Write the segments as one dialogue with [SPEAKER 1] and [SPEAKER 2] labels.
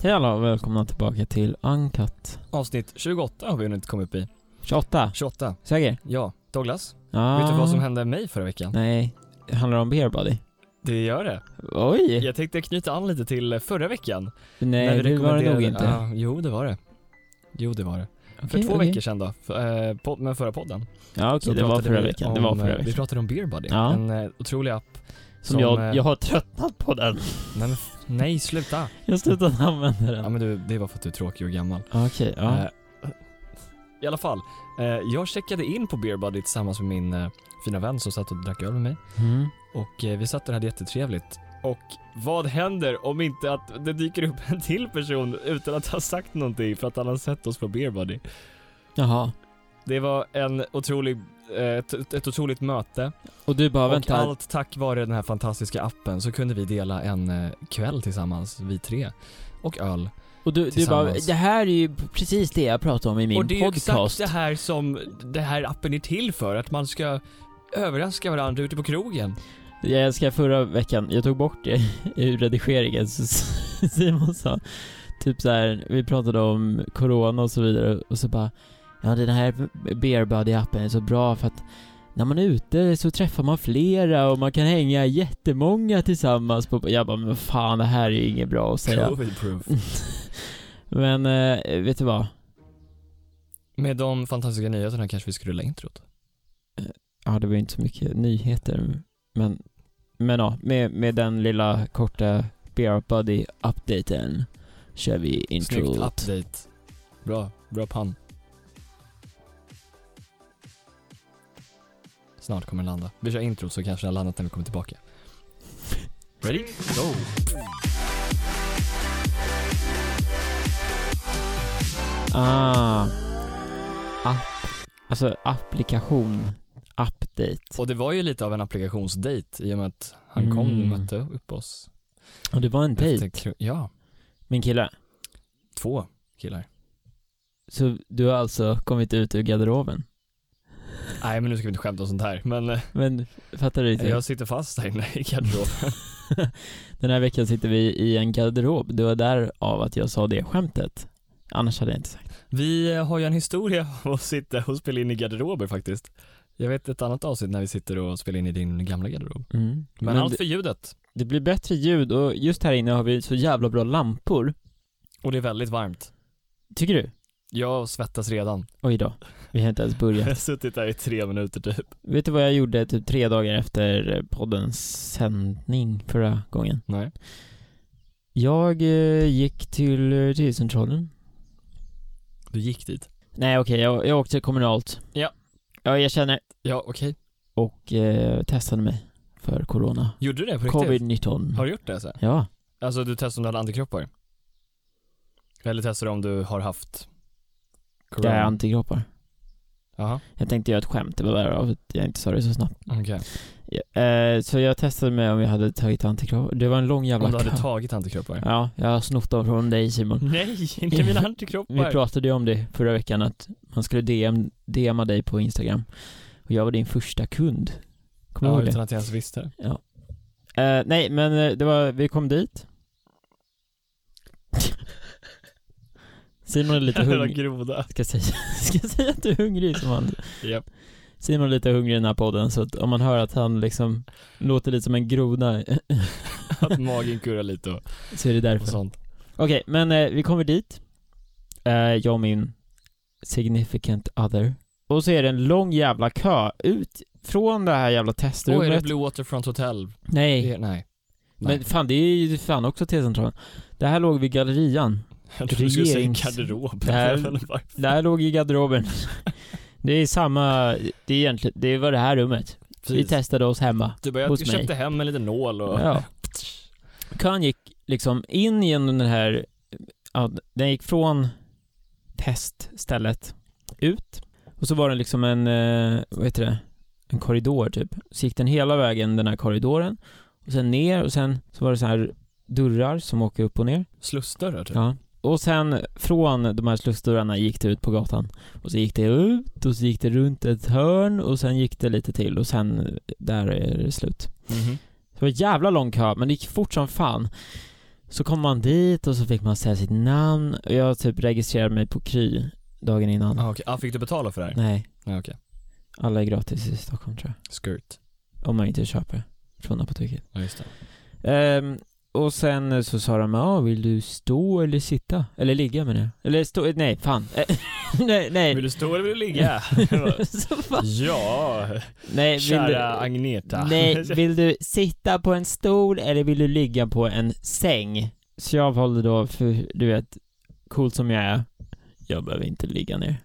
[SPEAKER 1] Hej alla och välkomna tillbaka till Uncut
[SPEAKER 2] Avsnitt 28 har vi ännu inte kommit upp i.
[SPEAKER 1] 28.
[SPEAKER 2] 28.
[SPEAKER 1] Säker?
[SPEAKER 2] Ja, Douglas.
[SPEAKER 1] Ja.
[SPEAKER 2] Vet du vad som hände mig förra veckan?
[SPEAKER 1] Nej. Det handlar om Beer Buddy.
[SPEAKER 2] Det gör det.
[SPEAKER 1] Oj!
[SPEAKER 2] Jag tänkte knyta an lite till eh, förra veckan.
[SPEAKER 1] Nej, det var det nog
[SPEAKER 2] rekommenderade-
[SPEAKER 1] inte.
[SPEAKER 2] Ja, jo, det var det. Jo, det var det. För
[SPEAKER 1] Okej,
[SPEAKER 2] två
[SPEAKER 1] okej.
[SPEAKER 2] veckor sedan då, för, eh, pod- med förra podden.
[SPEAKER 1] Ja, okej,
[SPEAKER 2] så
[SPEAKER 1] det var
[SPEAKER 2] pratade
[SPEAKER 1] förra
[SPEAKER 2] vi
[SPEAKER 1] veckan.
[SPEAKER 2] Om,
[SPEAKER 1] det var förra
[SPEAKER 2] eh, Vi
[SPEAKER 1] veckan.
[SPEAKER 2] pratade om Beer Buddy,
[SPEAKER 1] Ja.
[SPEAKER 2] en eh, otrolig app.
[SPEAKER 1] Som jag,
[SPEAKER 2] eh,
[SPEAKER 1] jag har tröttnat på den.
[SPEAKER 2] Nej, men, f- nej, sluta.
[SPEAKER 1] Jag har slutat använda
[SPEAKER 2] Ja,
[SPEAKER 1] den.
[SPEAKER 2] men du, det var för att du är tråkig och gammal.
[SPEAKER 1] Okej, ja.
[SPEAKER 2] Eh, I alla fall, eh, jag checkade in på Beer Buddy tillsammans med min eh, fina vän som satt och drack öl med mig.
[SPEAKER 1] Mm.
[SPEAKER 2] Och eh, vi satt där och hade jättetrevligt. Och vad händer om inte att det dyker upp en till person utan att ha sagt någonting för att han har sett oss på Beer Buddy?
[SPEAKER 1] Jaha.
[SPEAKER 2] Det var en otrolig, eh, ett, ett otroligt möte.
[SPEAKER 1] Och du bara,
[SPEAKER 2] och
[SPEAKER 1] vänta.
[SPEAKER 2] allt tack vare den här fantastiska appen så kunde vi dela en eh, kväll tillsammans, vi tre. Och öl.
[SPEAKER 1] och du, du bara,
[SPEAKER 2] tillsammans.
[SPEAKER 1] det här är ju precis det jag pratade om i min
[SPEAKER 2] och det är ju exakt
[SPEAKER 1] podcast.
[SPEAKER 2] det här som det här appen är till för, att man ska överraska varandra ute på krogen.
[SPEAKER 1] Jag älskar förra veckan, jag tog bort det ur redigeringen, så Simon sa typ så här, vi pratade om corona och så vidare och så bara Ja den här beer buddy appen är så bra för att när man är ute så träffar man flera och man kan hänga jättemånga tillsammans på... Jag bara, men fan det här är ju inget bra att säga.
[SPEAKER 2] Covid-proof.
[SPEAKER 1] men, eh, vet du vad?
[SPEAKER 2] Med de fantastiska nyheterna kanske vi ska rulla introt.
[SPEAKER 1] Ja, det var ju inte så mycket nyheter, men... Men ja, med, med den lilla korta beer buddy updaten kör vi
[SPEAKER 2] Snyggt
[SPEAKER 1] introt.
[SPEAKER 2] update. Bra, bra pann. Snart kommer den landa. Vi kör intro så kanske den har landat när vi kommer tillbaka. Ready? Go!
[SPEAKER 1] Ah. App. Alltså applikation. Update.
[SPEAKER 2] Och det var ju lite av en applikationsdate i och med att han kom och
[SPEAKER 1] Mm.
[SPEAKER 2] mötte upp oss.
[SPEAKER 1] Och det var en dejt,
[SPEAKER 2] Efter kro- Ja,
[SPEAKER 1] min kille.
[SPEAKER 2] två killar.
[SPEAKER 1] Så du har alltså kommit ut ur garderoben?
[SPEAKER 2] Nej men nu ska vi inte skämta om sånt här. Men eh,
[SPEAKER 1] Men fattar du inte?
[SPEAKER 2] jag sitter fast här inne i garderoben.
[SPEAKER 1] Den här veckan sitter vi i en garderob. Det var därav att jag sa det skämtet. Annars hade jag inte sagt.
[SPEAKER 2] Vi eh, har ju en historia av att sitta och spela in i garderober faktiskt. Jag vet ett annat avsnitt när vi sitter och spelar in i din gamla garderob.
[SPEAKER 1] Mm.
[SPEAKER 2] Men,
[SPEAKER 1] Men
[SPEAKER 2] allt
[SPEAKER 1] det,
[SPEAKER 2] för ljudet.
[SPEAKER 1] det blir bättre ljud och just här inne har vi så jävla bra lampor.
[SPEAKER 2] Och det är väldigt varmt.
[SPEAKER 1] Tycker du?
[SPEAKER 2] Jag svettas redan.
[SPEAKER 1] Oj då. Vi har inte ens
[SPEAKER 2] Jag
[SPEAKER 1] börjat.
[SPEAKER 2] har suttit där i tre minuter typ.
[SPEAKER 1] Vet du vad jag gjorde typ tre dagar efter poddens sändning förra gången?
[SPEAKER 2] Nej.
[SPEAKER 1] Jag eh, gick till eh, T-centralen.
[SPEAKER 2] Du gick dit?
[SPEAKER 1] Nej okej, jag, jag åkte kommunalt.
[SPEAKER 2] Ja.
[SPEAKER 1] Ja, jag känner.
[SPEAKER 2] Ja, okej.
[SPEAKER 1] Och eh, testade mig för corona.
[SPEAKER 2] Gjorde du det på riktigt?
[SPEAKER 1] Covid-19.
[SPEAKER 2] Har du gjort det? Så? här?
[SPEAKER 1] Ja.
[SPEAKER 2] Alltså du testade om du hade antikroppar? Eller testade om du har haft?
[SPEAKER 1] Det är antikroppar.
[SPEAKER 2] Jaha,
[SPEAKER 1] Jag tänkte göra ett skämt, det var bara av att jag inte sa det så snabbt. Ja,
[SPEAKER 2] okej.
[SPEAKER 1] Eh, så jag testade mig om jag hade tagit antikroppar. Det var en lång jävla
[SPEAKER 2] Om du hade
[SPEAKER 1] kö.
[SPEAKER 2] tagit antikroppar?
[SPEAKER 1] Ja, jag har snott dem från dig Simon.
[SPEAKER 2] Nej, inte mina antikroppar.
[SPEAKER 1] Vi pratade ju om det förra veckan att man skulle DM, DMa dig på Instagram. Och jag var din första kund. Kommer du
[SPEAKER 2] ja,
[SPEAKER 1] ihåg det?
[SPEAKER 2] utan att jag ens visste det.
[SPEAKER 1] Eh, nej, men eh, det var, vi kom dit. Simon är lite
[SPEAKER 2] Jävla
[SPEAKER 1] hungrig.
[SPEAKER 2] groda.
[SPEAKER 1] Ska säga, ska säga att du är hungrig som han.
[SPEAKER 2] Japp.
[SPEAKER 1] Simon är lite hungrig i den här podden så att om man hör att han liksom låter lite som en groda eh,
[SPEAKER 2] Att magen kurrar lite och,
[SPEAKER 1] så är det
[SPEAKER 2] och
[SPEAKER 1] därför.
[SPEAKER 2] sånt.
[SPEAKER 1] Okej, men eh, vi kommer dit. Eh, jag och min significant other. Och så är det en lång jävla kö ut från det här jävla
[SPEAKER 2] Oj, är det
[SPEAKER 1] testrummet.
[SPEAKER 2] Blue Waterfront Hotel?
[SPEAKER 1] Nej,
[SPEAKER 2] Det- Nej. Nej.
[SPEAKER 1] men fan det är ju fan också T-centralen. Det här låg vid gallerian.
[SPEAKER 2] Jag trodde du skulle säga
[SPEAKER 1] regerings-
[SPEAKER 2] garderob.
[SPEAKER 1] Det här- Det här låg i garderoben. Det är samma, det är egentligen, det var det här rummet. Vi
[SPEAKER 2] Precis.
[SPEAKER 1] testade oss hemma.
[SPEAKER 2] Du bara, jag
[SPEAKER 1] hos
[SPEAKER 2] jag
[SPEAKER 1] mig.
[SPEAKER 2] köpte hem en liten nål och...
[SPEAKER 1] Ja. Kön gick liksom in genom den här, ja, den gick från teststället ut. Och så var det liksom en, eh, vad heter det, en korridor typ. Så gick den hela vägen den här korridoren. Och sen ner och sen så var det så här dörrar som åker upp och ner.
[SPEAKER 2] Slussdörrar typ.
[SPEAKER 1] Ja. Och sen från de här slussdörrarna gick det ut på gatan. Och så gick det ut och så gick det runt ett hörn och sen gick det lite till och sen eh, där är det slut.
[SPEAKER 2] Mhm.
[SPEAKER 1] Det var en jävla lång kö men det gick fort som fan. Så kom man dit och så fick man säga sitt namn och jag typ registrerade mig på Kry dagen innan.
[SPEAKER 2] Ah, okay. ah, fick du betala för det här?
[SPEAKER 1] Nej,
[SPEAKER 2] Ah, okej.
[SPEAKER 1] alla är gratis i Stockholm tror
[SPEAKER 2] Skirt.
[SPEAKER 1] jag. Om man inte köper från apoteket.
[SPEAKER 2] Ja, just det.
[SPEAKER 1] Ehm, och sen så sa de, ja vill du stå eller sitta? Eller ligga menar jag. Eller stå, nej fan. Eh, nej, nej.
[SPEAKER 2] Vill du stå eller vill du ligga?
[SPEAKER 1] Så fan.
[SPEAKER 2] ja,
[SPEAKER 1] nej, Eh, vill du,
[SPEAKER 2] kära Agneta.
[SPEAKER 1] nej, vill du sitta på en stol eller vill du ligga på en säng? Så jag valde då, för du vet, cool som jag är, jag behöver inte ligga ner.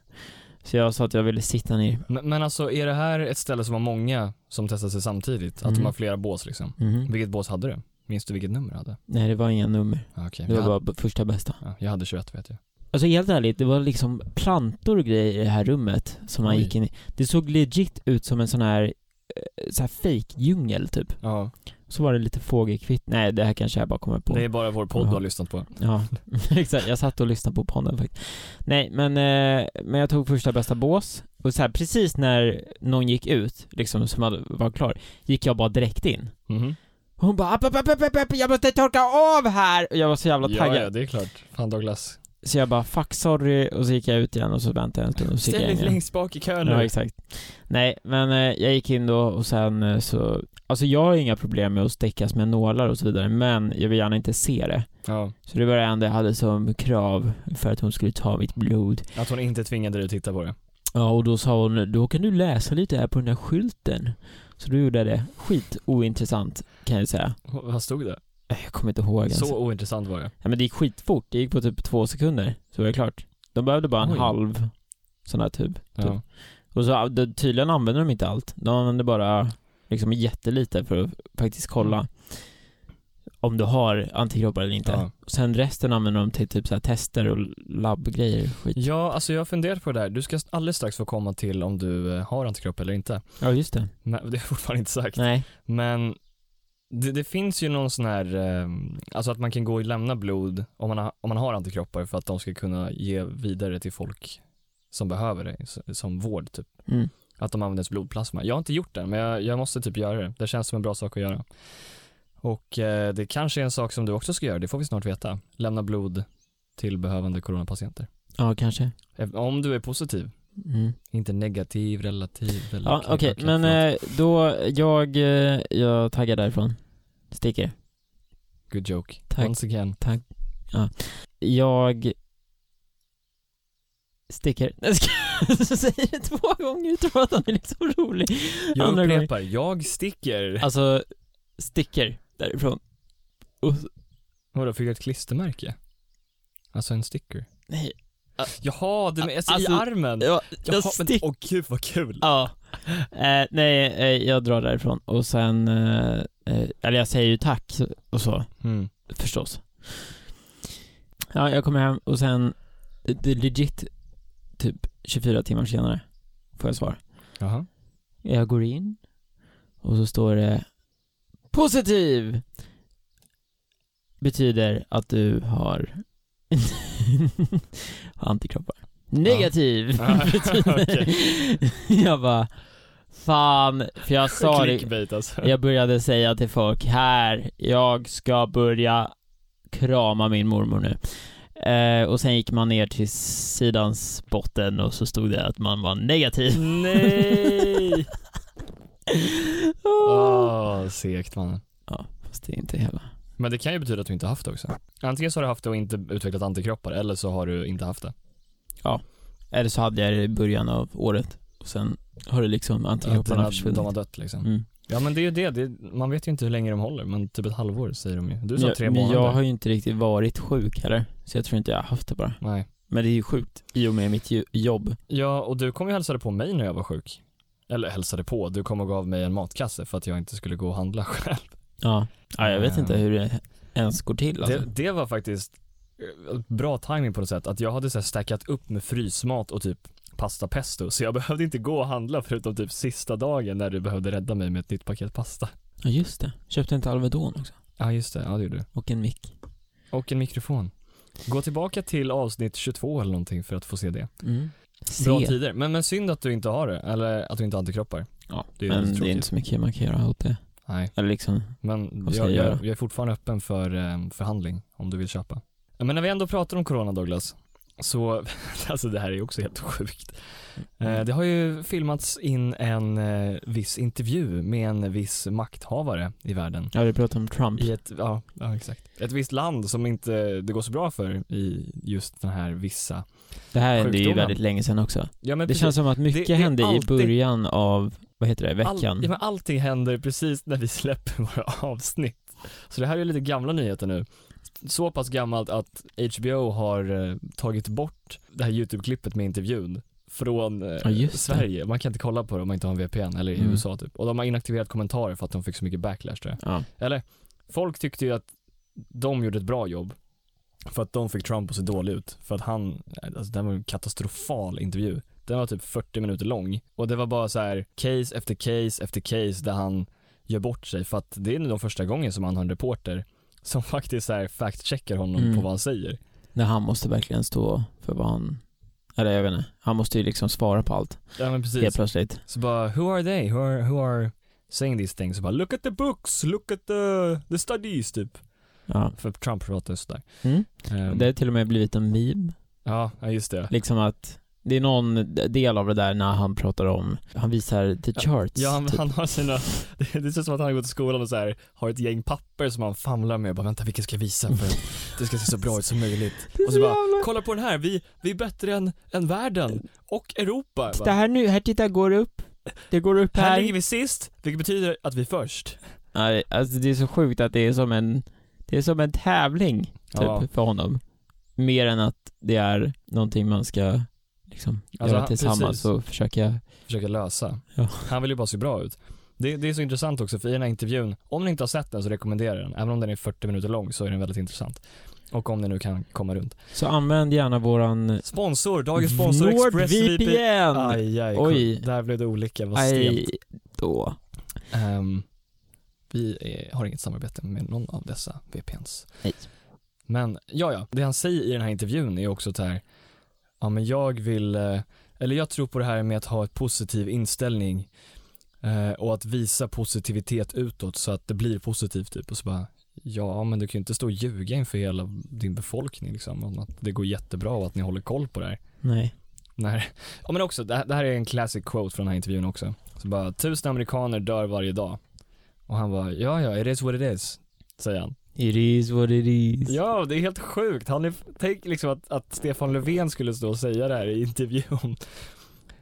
[SPEAKER 1] Så jag sa att jag ville sitta ner.
[SPEAKER 2] Men, men alltså, är det här ett ställe som har många som testar sig samtidigt? Att
[SPEAKER 1] Mm.
[SPEAKER 2] de har flera bås liksom?
[SPEAKER 1] Mhm.
[SPEAKER 2] Vilket bås hade du? Minns du vilket nummer du hade?
[SPEAKER 1] Nej, det var inga nummer.
[SPEAKER 2] Ah, okej.
[SPEAKER 1] Det
[SPEAKER 2] jag,
[SPEAKER 1] var
[SPEAKER 2] hade-
[SPEAKER 1] bara b- första bästa.
[SPEAKER 2] ja, jag hade 21 vet jag.
[SPEAKER 1] Alltså helt ärligt, det var liksom plantor och grejer i det här rummet som man
[SPEAKER 2] Oj.
[SPEAKER 1] gick in i. Det såg legit ut som en sån här, eh, så här fake djungel typ.
[SPEAKER 2] Ja.
[SPEAKER 1] Så var det lite fågelkvitt. Nej, det här kanske jag bara kommer på.
[SPEAKER 2] Det är bara vår podd du har
[SPEAKER 1] Jaha.
[SPEAKER 2] lyssnat på.
[SPEAKER 1] Ja, exakt. Jag satt och lyssnade på podden faktiskt. Nej, men, eh, men jag tog första bästa bås och så här, precis när någon gick ut, liksom som hade, var klar, gick jag bara direkt in.
[SPEAKER 2] Mhm.
[SPEAKER 1] Hon bara app, app, app, app, app, app, jag måste torka av här! Och jag var så jävla
[SPEAKER 2] Ja,
[SPEAKER 1] taggad.
[SPEAKER 2] ja, det är klart. Fan Douglas.
[SPEAKER 1] Så jag bara fuck sorry och så gick jag ut igen och så väntade jag en stund och så gick jag in igen.
[SPEAKER 2] bak i kön
[SPEAKER 1] Ja, exakt. Nej, men eh, jag gick in då och sen eh, så, alltså jag har inga problem med att stickas med nålar och så vidare, men jag vill gärna inte se det.
[SPEAKER 2] Ja.
[SPEAKER 1] Så det var det enda jag hade som krav för att hon skulle ta mitt blod.
[SPEAKER 2] Att hon inte tvingade dig att titta på det.
[SPEAKER 1] Ja, och då sa hon, då kan du läsa lite här på den här skylten. Så då gjorde jag det. Skit ointressant kan jag säga.
[SPEAKER 2] H- Vad stod det?
[SPEAKER 1] Eh, Jag kommer inte ihåg ens.
[SPEAKER 2] Så ointressant var det.
[SPEAKER 1] Ja, men det gick skitfort. Det gick på typ två sekunder, så var det klart. De behövde bara en
[SPEAKER 2] Oj.
[SPEAKER 1] halv sån här tub.
[SPEAKER 2] Ja.
[SPEAKER 1] Och så de, tydligen använder de inte allt. De använder bara liksom jättelite för att faktiskt
[SPEAKER 2] Mm.
[SPEAKER 1] kolla om du har antikroppar eller inte.
[SPEAKER 2] Ja.
[SPEAKER 1] Och sen resten använder de till typ så här tester och labbgrejer och skit.
[SPEAKER 2] ja, alltså jag har funderat på det där. Du ska alldeles strax få komma till om du eh, har antikropp eller inte.
[SPEAKER 1] Ja, just det.
[SPEAKER 2] Men det är fortfarande inte sagt.
[SPEAKER 1] Nej.
[SPEAKER 2] Men det, det finns ju någon sån här, eh, alltså att man kan gå och lämna blod om man, har, om man har antikroppar för att de ska kunna ge vidare till folk som behöver det, s- som vård typ.
[SPEAKER 1] Mm.
[SPEAKER 2] Att de använder blodplasma. Jag har inte gjort det, men jag, jag måste typ göra det. Det känns som en bra sak att göra. Och eh, det kanske är en sak som du också ska göra, det får vi snart veta. Lämna blod till behövande coronapatienter.
[SPEAKER 1] Ja, kanske.
[SPEAKER 2] Eh, Om du är positiv,
[SPEAKER 1] Mm.
[SPEAKER 2] inte negativ, relativ eller
[SPEAKER 1] Ja, okej, men
[SPEAKER 2] förlåt.
[SPEAKER 1] eh, då, jag, eh, jag taggar därifrån. Sticker.
[SPEAKER 2] Good joke.
[SPEAKER 1] eh, tack.
[SPEAKER 2] Once again.
[SPEAKER 1] Jag sticker. Nej, jag skojar. Så säger det två gånger utan att han är liksom rolig.
[SPEAKER 2] Jag
[SPEAKER 1] Andra gången.
[SPEAKER 2] upprepar, jag sticker.
[SPEAKER 1] Alltså, sticker därifrån. Och,
[SPEAKER 2] Vadå, fick jag ett klistermärke? Alltså en sticker?
[SPEAKER 1] nej.
[SPEAKER 2] Jaha, du men, alltså,
[SPEAKER 1] Alltså,
[SPEAKER 2] i armen?
[SPEAKER 1] Jag,
[SPEAKER 2] Jaha,
[SPEAKER 1] jag
[SPEAKER 2] men,
[SPEAKER 1] stick... Ah.
[SPEAKER 2] åh gud vad kul!
[SPEAKER 1] Ja. Eh, nej, eh, jag drar därifrån och sen, eh, eh, eller jag säger ju tack och så.
[SPEAKER 2] Mm.
[SPEAKER 1] förstås. Ja, jag kommer hem och sen, det är legit, typ 24 timmar senare får jag svar.
[SPEAKER 2] Jaha.
[SPEAKER 1] Jag går in och så står det positiv betyder att du har antikroppar. Negativ
[SPEAKER 2] Ja.
[SPEAKER 1] betyder, jag bara, fan, för jag sa det,
[SPEAKER 2] Clickbait alltså.
[SPEAKER 1] jag började säga till folk här, jag ska börja krama min mormor nu. Eh, och sen gick man ner till sidans botten och så stod det att man var negativ.
[SPEAKER 2] Nej!
[SPEAKER 1] Åh. Ah,
[SPEAKER 2] Åh, segt mannen.
[SPEAKER 1] Fast det är inte hela.
[SPEAKER 2] Men det kan ju betyda att du inte haft det också. Antingen så har du haft det och inte utvecklat antikroppar, eller så har du inte haft det.
[SPEAKER 1] Eller så hade jag det i början av året och sen har det liksom antikropparna
[SPEAKER 2] Att dina-
[SPEAKER 1] försvunnit.
[SPEAKER 2] de har dött liksom.
[SPEAKER 1] Mm.
[SPEAKER 2] Ja men det är ju det, det är, man vet ju inte hur länge de håller, men typ ett halvår säger de ju. Du sa
[SPEAKER 1] Jag-
[SPEAKER 2] tre
[SPEAKER 1] men
[SPEAKER 2] månader.
[SPEAKER 1] jag har ju inte riktigt varit sjuk heller, så jag tror inte jag har haft det bara.
[SPEAKER 2] Nej.
[SPEAKER 1] Men det är ju sjukt i och med mitt ju- jobb.
[SPEAKER 2] Ja, och du kom ju och hälsade på mig när jag var sjuk. Eller hälsade på, du kom och gav mig en matkasse för att jag inte skulle gå och handla själv.
[SPEAKER 1] Ja, ja jag vet
[SPEAKER 2] Mm.
[SPEAKER 1] inte hur det ens går till alltså.
[SPEAKER 2] Det, det var faktiskt eh, bra timing på något sätt, att jag hade så här stackat upp med frysmat och typ pasta pesto, så jag behövde inte gå och handla förutom typ sista dagen när du behövde rädda mig med ett nytt paket pasta.
[SPEAKER 1] Ja just det, köpte inte Alvedon också.
[SPEAKER 2] Ja, just det, ja det gjorde du.
[SPEAKER 1] Och en mick.
[SPEAKER 2] Och en mikrofon. Gå tillbaka till avsnitt 22 eller någonting för att få se det.
[SPEAKER 1] Mm.
[SPEAKER 2] Bra tider, men, men synd att du inte har det, eller att du inte har antikroppar.
[SPEAKER 1] Ja,
[SPEAKER 2] Det är
[SPEAKER 1] men
[SPEAKER 2] lite
[SPEAKER 1] det är
[SPEAKER 2] tråkigt.
[SPEAKER 1] inte så mycket man kan göra åt det.
[SPEAKER 2] Nej,
[SPEAKER 1] Eller liksom,
[SPEAKER 2] men
[SPEAKER 1] Vad ska
[SPEAKER 2] jag,
[SPEAKER 1] jag
[SPEAKER 2] jag,
[SPEAKER 1] göra?
[SPEAKER 2] jag är fortfarande öppen för eh, förhandling om du vill köpa. Ja, Men när vi ändå pratar om corona Douglas, så, alltså det här är ju också helt sjukt.
[SPEAKER 1] Mm.
[SPEAKER 2] Eh, Det har ju filmats in en eh, viss intervju med en viss makthavare i världen.
[SPEAKER 1] ja vi pratade om Trump.
[SPEAKER 2] I ett, ja, ja, exakt. ett visst land som inte det går så bra för i just den här vissa.
[SPEAKER 1] Det här hände ju
[SPEAKER 2] sjukdomen.
[SPEAKER 1] väldigt länge sedan också.
[SPEAKER 2] Ja,
[SPEAKER 1] Det
[SPEAKER 2] men precis.
[SPEAKER 1] känns som att mycket
[SPEAKER 2] det är
[SPEAKER 1] hände i
[SPEAKER 2] alltid-
[SPEAKER 1] början av, vad heter det, veckan.
[SPEAKER 2] All, ja, men allting händer precis när vi släpper våra avsnitt. Så det här är lite gamla nyheter nu. Så pass gammalt att HBO har eh, tagit bort det här YouTube-klippet med intervjun från eh,
[SPEAKER 1] Ja, just det.
[SPEAKER 2] Sverige. Man kan inte kolla på det om man inte har en VPN eller i
[SPEAKER 1] Mm.
[SPEAKER 2] USA typ. Och de har inaktiverat kommentarer för att de fick så mycket backlash tror jag.
[SPEAKER 1] Ja.
[SPEAKER 2] Eller, folk tyckte ju att de gjorde ett bra jobb för att de fick Trump att se dålig ut. För att han, alltså den var en katastrofal intervju. Den var typ 40 minuter lång och det var bara så här case efter case efter case där han gör bort sig för att det är nu de första gången som han har en reporter som faktiskt så här fact-checkar honom
[SPEAKER 1] Mm.
[SPEAKER 2] på vad han säger.
[SPEAKER 1] När han måste verkligen stå för vad han, eller jag vet inte, han måste ju liksom svara på allt
[SPEAKER 2] Ja men precis.
[SPEAKER 1] helt plötsligt.
[SPEAKER 2] Så bara, who are they? Who are, who are saying these things? Så bara, look at the books, look at the, the studies typ.
[SPEAKER 1] Ja.
[SPEAKER 2] För Trump pratar ju sådär.
[SPEAKER 1] Mm.
[SPEAKER 2] Ehm,
[SPEAKER 1] Det har till och med blivit en meme,
[SPEAKER 2] Ja, ja, just det.
[SPEAKER 1] liksom att det är någon del av det där när han pratar om, han visar the charts.
[SPEAKER 2] Ja, han,
[SPEAKER 1] typ.
[SPEAKER 2] han har sina, det, det ser ut som att han har gått till skolan och så här, har ett gäng papper som han famlar med och bara vänta vilken ska jag visa för att det ska se så bra ut som möjligt.
[SPEAKER 1] Det är
[SPEAKER 2] Och
[SPEAKER 1] så
[SPEAKER 2] så bara,
[SPEAKER 1] jävla-
[SPEAKER 2] kolla på den här, vi, vi är bättre än, än världen och Europa.
[SPEAKER 1] Titta
[SPEAKER 2] Bara,
[SPEAKER 1] här nu, här titta, går det upp? Det går upp
[SPEAKER 2] här
[SPEAKER 1] här.
[SPEAKER 2] ligger vi sist, vilket betyder att vi är först.
[SPEAKER 1] Nej, alltså det är så sjukt att det är som en, det är som en tävling, typ,
[SPEAKER 2] Ja.
[SPEAKER 1] för honom. Mer än att det är någonting man ska, liksom,
[SPEAKER 2] Alltså,
[SPEAKER 1] göra
[SPEAKER 2] han-
[SPEAKER 1] tillsammans
[SPEAKER 2] precis.
[SPEAKER 1] och försöka,
[SPEAKER 2] Försöka lösa.
[SPEAKER 1] Ja.
[SPEAKER 2] Han vill ju bara se bra ut. Det, det är så intressant också för i den här intervjun, om ni inte har sett den så rekommenderar jag den. Även om den är 40 minuter lång så är den väldigt intressant. Och om ni nu kan komma runt.
[SPEAKER 1] så använd gärna våran
[SPEAKER 2] Sponsor, dagens sponsor ExpressVPN.
[SPEAKER 1] NordVPN!
[SPEAKER 2] Aj, aj,
[SPEAKER 1] Oj.
[SPEAKER 2] Oj. Där blev det olika, vad stelt.
[SPEAKER 1] Aj, då.
[SPEAKER 2] Ehm, vi eh, har inget samarbete med någon av dessa VPNs.
[SPEAKER 1] Nej.
[SPEAKER 2] Men ja, ja, det han säger i den här intervjun är också så här, ja men jag vill, eh, eller jag tror på det här med att ha en positiv inställning eh, och att visa positivitet utåt så att det blir positivt typ och så bara, ja men du kan ju inte stå och ljuga inför hela din befolkning liksom om att det går jättebra och att ni håller koll på det här.
[SPEAKER 1] Nej.
[SPEAKER 2] Nej. Ja, men också, det här, det här är en classic quote från den här intervjun också. Så bara, tusen amerikaner dör varje dag. Och han bara, ja ja, it is what it is, säger han.
[SPEAKER 1] It is what it is.
[SPEAKER 2] Ja, det är helt sjukt. Han är, tänk liksom att, att Stefan Löfven skulle stå och säga det här i intervjun.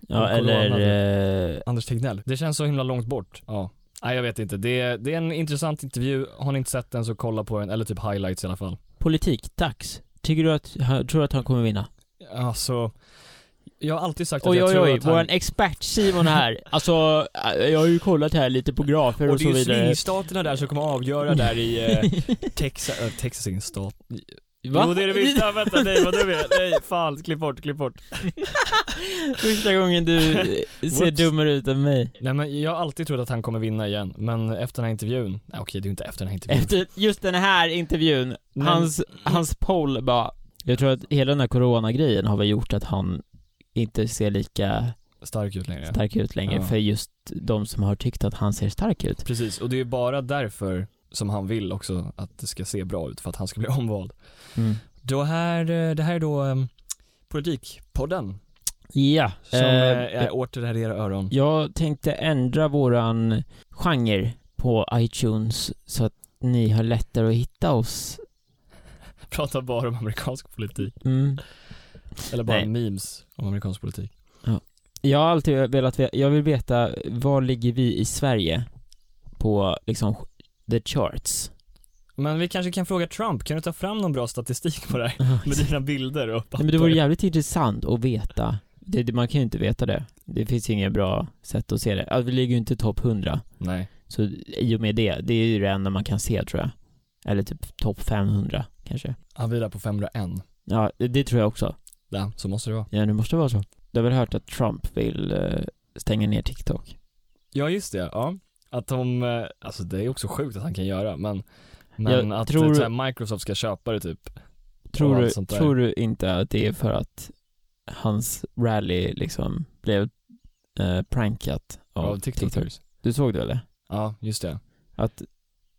[SPEAKER 1] Ja, eller... Eh,
[SPEAKER 2] Anders Tegnell. Det känns så himla långt bort. Ja. Nej, jag vet inte. Det är, det är en intressant intervju. Har ni inte sett den så kolla på den, eller typ highlights i alla fall.
[SPEAKER 1] politik, dags. Tycker du att, han- tror du att han kommer vinna?
[SPEAKER 2] Alltså, jag har alltid sagt att
[SPEAKER 1] Oj,
[SPEAKER 2] jag
[SPEAKER 1] oj,
[SPEAKER 2] tror
[SPEAKER 1] oj,
[SPEAKER 2] att han...
[SPEAKER 1] våran expert Simon här. Alltså, jag har ju kollat här lite på grafer och,
[SPEAKER 2] Och det
[SPEAKER 1] så
[SPEAKER 2] är ju
[SPEAKER 1] vidare.
[SPEAKER 2] swingstaterna där som kommer avgöra där i eh, Texas, eh, Texas är ingen stat.
[SPEAKER 1] Va?
[SPEAKER 2] Jo det är det visst, Ja, vänta nej vad dum jag är. Nej fan, klipp bort, klipp bort.
[SPEAKER 1] Första gången du ser
[SPEAKER 2] Whoops.
[SPEAKER 1] dummare ut än mig.
[SPEAKER 2] Nej men jag har alltid trott att han kommer vinna igen, men efter den här intervjun, nej okej det är ju inte efter den här intervjun.
[SPEAKER 1] Efter just den här intervjun,
[SPEAKER 2] Nej.
[SPEAKER 1] hans, hans poll bara... Jag tror att hela den här coronagrejen har väl gjort att han inte ser lika
[SPEAKER 2] Stark ut längre.
[SPEAKER 1] stark ut längre
[SPEAKER 2] Ja.
[SPEAKER 1] för just de som har tyckt att han ser stark ut.
[SPEAKER 2] Precis, och det är ju bara därför som han vill också att det ska se bra ut, för att han ska bli omvald. Då här, eh, det här är då um, Politikpodden,
[SPEAKER 1] Ja.
[SPEAKER 2] som
[SPEAKER 1] eh,
[SPEAKER 2] eh, är åter där i era öron.
[SPEAKER 1] Jag tänkte ändra våran genre på iTunes så att ni har lättare att hitta oss.
[SPEAKER 2] Pratar bara om amerikansk politik,
[SPEAKER 1] Mm.
[SPEAKER 2] eller bara
[SPEAKER 1] Nej.
[SPEAKER 2] memes om amerikansk politik.
[SPEAKER 1] Jag har alltid velat veta, jag vill veta, var ligger vi i Sverige på liksom the charts?
[SPEAKER 2] Men vi kanske kan fråga Trump, kan du ta fram någon bra statistik på det här? Med dina bilder och papper.
[SPEAKER 1] Nej, men det vore jävligt intressant att veta. Det, det, man kan ju inte veta det. Det finns inget bra sätt att se det. Alltså, vi ligger ju inte i topp 100.
[SPEAKER 2] Nej.
[SPEAKER 1] Så i och med det, det är ju det enda man kan se tror jag. Eller typ topp 500 kanske.
[SPEAKER 2] Han vilar på 501.
[SPEAKER 1] Ja, det, det tror jag också.
[SPEAKER 2] Där, så måste det vara.
[SPEAKER 1] Ja, det måste vara så. Du har väl hört att Trump vill eh, stänga ner TikTok?
[SPEAKER 2] Ja, just det. Ja. Att de, eh, alltså det är också sjukt att han kan göra, men, men
[SPEAKER 1] Jag
[SPEAKER 2] att
[SPEAKER 1] tror-
[SPEAKER 2] tror... så här, Microsoft ska köpa det typ.
[SPEAKER 1] Tror
[SPEAKER 2] allt
[SPEAKER 1] du,
[SPEAKER 2] sånt där.
[SPEAKER 1] tror du inte att det är för att hans rally liksom blev eh, prankat av
[SPEAKER 2] Av
[SPEAKER 1] TikTok?
[SPEAKER 2] TikTokers.
[SPEAKER 1] Du såg det eller?
[SPEAKER 2] Ja, just det.
[SPEAKER 1] Att,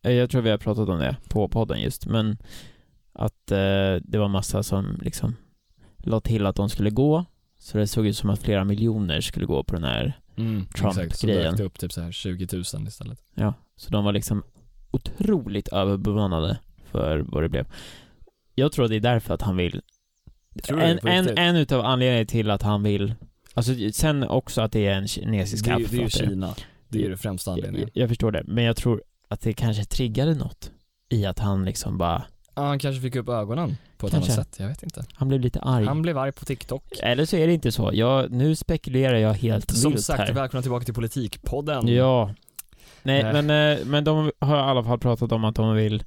[SPEAKER 1] eh, jag tror vi har pratat om det på podden just, men att eh, det var massa som liksom la till att de skulle gå, så det såg ut som att flera miljoner skulle gå på den här,
[SPEAKER 2] Mm,
[SPEAKER 1] Trump-grejen.
[SPEAKER 2] exakt. Så dök det upp typ så här 20 000 istället.
[SPEAKER 1] ja, så de var liksom otroligt överbemannade för vad det blev. Jag tror det är därför att han vill
[SPEAKER 2] Tror du det
[SPEAKER 1] en,
[SPEAKER 2] på
[SPEAKER 1] en,
[SPEAKER 2] riktigt?
[SPEAKER 1] en utav anledningarna till att han vill, alltså sen också att det är en kinesisk
[SPEAKER 2] det, är ju-
[SPEAKER 1] app,
[SPEAKER 2] det är ju
[SPEAKER 1] fattar jag.
[SPEAKER 2] Kina. Det är ju den främsta anledningen.
[SPEAKER 1] jag, jag förstår det, men jag tror att det kanske triggade något i att han liksom bara,
[SPEAKER 2] Ja, han kanske fick upp ögonen på ett
[SPEAKER 1] Kanske.
[SPEAKER 2] annat sätt. Jag vet inte.
[SPEAKER 1] han blev lite arg.
[SPEAKER 2] Han blev arg på TikTok.
[SPEAKER 1] Eller så är det inte så, jag, nu spekulerar jag helt
[SPEAKER 2] Som
[SPEAKER 1] vilt
[SPEAKER 2] sagt,
[SPEAKER 1] här.
[SPEAKER 2] välkomna tillbaka till Politikpodden.
[SPEAKER 1] Ja. Nej,
[SPEAKER 2] Nej.
[SPEAKER 1] Men, eh, men de har i alla fall pratat om att de vill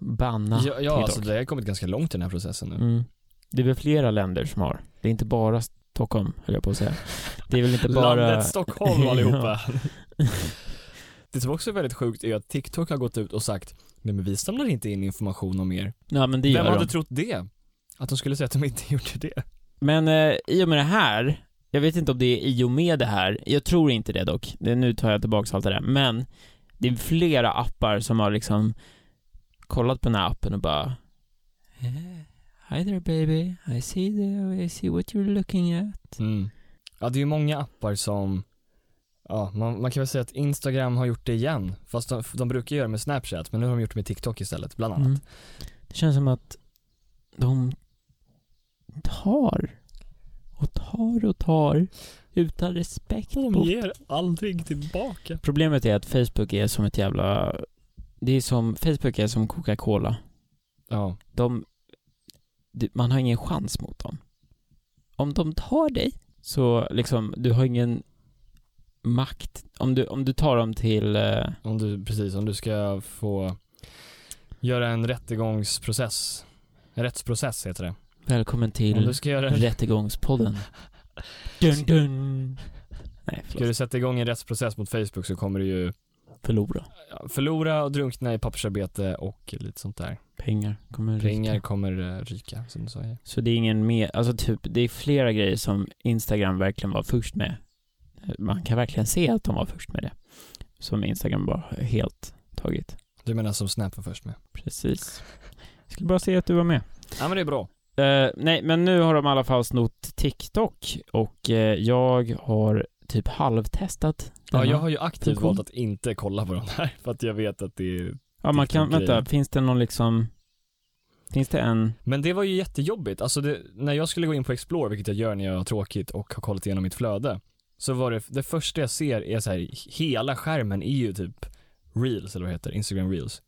[SPEAKER 1] banna
[SPEAKER 2] ja, ja
[SPEAKER 1] TikTok.
[SPEAKER 2] alltså det har kommit ganska långt i den här processen nu.
[SPEAKER 1] mm. Det är väl flera länder som har, det är inte bara Stockholm, höll jag på att säga. Det är väl inte bara...
[SPEAKER 2] Landet Stockholm allihopa. det som också är väldigt sjukt är att TikTok har gått ut och sagt Nej men vi samlar inte in information om er.
[SPEAKER 1] Ja, men det
[SPEAKER 2] Vem
[SPEAKER 1] gör
[SPEAKER 2] hade
[SPEAKER 1] de.
[SPEAKER 2] trott det? Att de skulle säga att de inte gjorde det.
[SPEAKER 1] Men eh, i och med det här, jag vet inte om det är i och med det här, jag tror inte det dock, det, nu tar jag tillbaks allt det där, men det är flera appar som har liksom kollat på den här appen och bara "Eh, Hi there baby, I see, the, I see what you're looking at.
[SPEAKER 2] Mm. Ja det är ju många appar som, ja man, man kan väl säga att Instagram har gjort det igen. Fast de, de brukar göra det med Snapchat men nu har de gjort det med TikTok istället bland annat.
[SPEAKER 1] Mm. Det känns som att de tar och tar och tar utan respekt. mot-
[SPEAKER 2] ger aldrig tillbaka.
[SPEAKER 1] Problemet är att Facebook är som ett jävla, det är som, Facebook är som Coca-Cola.
[SPEAKER 2] Ja,
[SPEAKER 1] de, du- man har ingen chans mot dem. Om de tar dig, så liksom, du har ingen makt. Om du, om du tar dem till, eh,
[SPEAKER 2] om du, precis, om du ska få göra en rättegångsprocess. En rättsprocess heter det.
[SPEAKER 1] välkommen
[SPEAKER 2] Om du
[SPEAKER 1] till
[SPEAKER 2] ska göra en
[SPEAKER 1] Rättegångspodden. Dun, dun. Nej,
[SPEAKER 2] Ska
[SPEAKER 1] förlåt.
[SPEAKER 2] du sätta igång en rättsprocess mot Facebook så kommer du ju
[SPEAKER 1] Förlora.
[SPEAKER 2] ja, förlora och drunkna i pappersarbete och lite sånt där.
[SPEAKER 1] Pengar kommer ryka.
[SPEAKER 2] Pengar kommer eh, ryka, som du sa. ju.
[SPEAKER 1] Så det är ingen mer, alltså typ, det är flera grejer som Instagram verkligen var först med. Man kan verkligen se att de var först med det. Som Instagram bara helt tagit.
[SPEAKER 2] Du menar som Snap var först med?
[SPEAKER 1] Precis. Jag skulle bara se att du var med.
[SPEAKER 2] Ja men det är bra.
[SPEAKER 1] Eh, nej, men nu har de i alla fall snott TikTok och eh, jag har typ halvtestat
[SPEAKER 2] Ja,
[SPEAKER 1] denna.
[SPEAKER 2] jag har ju aktivt
[SPEAKER 1] Funktion.
[SPEAKER 2] valt att inte kolla på de här för att jag vet att det är
[SPEAKER 1] ja man kan,
[SPEAKER 2] TikTok-grejen.
[SPEAKER 1] vänta, finns det någon liksom, finns det en,
[SPEAKER 2] Men det var ju jättejobbigt. Alltså det, när jag skulle gå in på Explore, vilket jag gör när jag har tråkigt och har kollat igenom mitt flöde, så var det, det första jag ser är så här, hela skärmen är ju typ reels eller vad det heter, Instagram reels.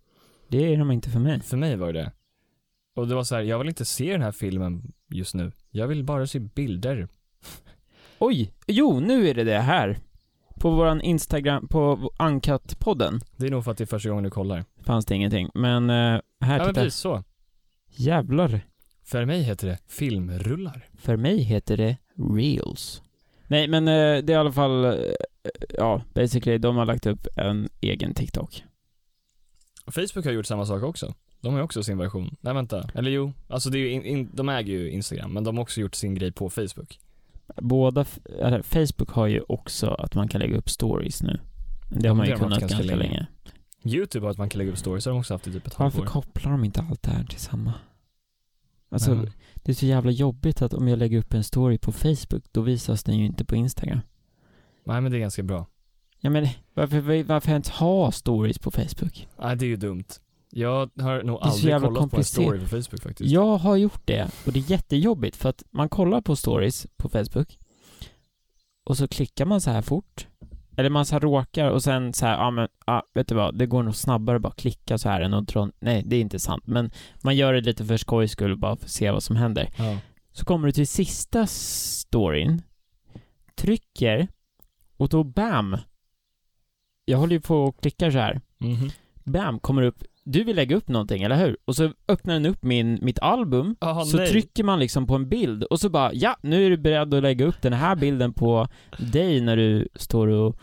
[SPEAKER 1] det är de inte för mig.
[SPEAKER 2] För mig var det det. Och det var så här, jag vill inte se den här filmen just nu. Jag vill bara se bilder.
[SPEAKER 1] Oj, jo nu är det det här. På våran Instagram, på Uncut-podden
[SPEAKER 2] Det är nog för att det är första gången du kollar.
[SPEAKER 1] fanns det ingenting, men eh, här
[SPEAKER 2] Ja men
[SPEAKER 1] titta.
[SPEAKER 2] precis så.
[SPEAKER 1] Jävlar.
[SPEAKER 2] För mig heter det filmrullar.
[SPEAKER 1] För mig heter det Reels. Nej men eh, det är i alla fall, eh, ja basically, de har lagt upp en egen TikTok.
[SPEAKER 2] Facebook har gjort samma sak också. De har ju också sin version. Nej vänta, eller jo, alltså det är ju in, in, de äger ju Instagram, men de har också gjort sin grej på Facebook.
[SPEAKER 1] båda, f- eller, Facebook har ju också att man kan lägga upp stories nu. Men Det
[SPEAKER 2] Ja,
[SPEAKER 1] har
[SPEAKER 2] men
[SPEAKER 1] man
[SPEAKER 2] det
[SPEAKER 1] ju
[SPEAKER 2] har de
[SPEAKER 1] kunnat
[SPEAKER 2] haft
[SPEAKER 1] ganska,
[SPEAKER 2] ganska
[SPEAKER 1] länge.
[SPEAKER 2] länge. YouTube har att man kan lägga upp stories, har de också haft i typ ett
[SPEAKER 1] Varför
[SPEAKER 2] halvår.
[SPEAKER 1] kopplar de inte allt det här till samma? Alltså,
[SPEAKER 2] Ja.
[SPEAKER 1] det är så jävla jobbigt att om jag lägger upp en story på Facebook, då visas den ju inte på Instagram.
[SPEAKER 2] Nej men det är ganska bra.
[SPEAKER 1] Ja men varför, varför ens ha stories på Facebook?
[SPEAKER 2] Nej det är ju dumt. Jag har nog
[SPEAKER 1] är så
[SPEAKER 2] aldrig
[SPEAKER 1] jävla
[SPEAKER 2] kollat på en story på
[SPEAKER 1] komplicerat.
[SPEAKER 2] Facebook faktiskt.
[SPEAKER 1] Jag har gjort det, och det är jättejobbigt för att man kollar på stories på Facebook och så klickar man så här fort. Eller man så här råkar och sen så här, ja ah, men, ah, vet du vad, det går nog snabbare att bara klicka så här än att dra, nej det är inte sant, men man gör det lite för skojs skull bara för att se vad som händer.
[SPEAKER 2] Ja.
[SPEAKER 1] Så kommer du till sista storyn, trycker och då bam! Jag håller ju på och klickar så här
[SPEAKER 2] Mhm.
[SPEAKER 1] bam, kommer upp, du vill lägga upp någonting, eller hur? Och så öppnar den upp min, mitt album,
[SPEAKER 2] Jaha,
[SPEAKER 1] så
[SPEAKER 2] nej.
[SPEAKER 1] trycker man liksom på en bild och så bara, ja, nu är du beredd att lägga upp den här bilden på dig när du står och...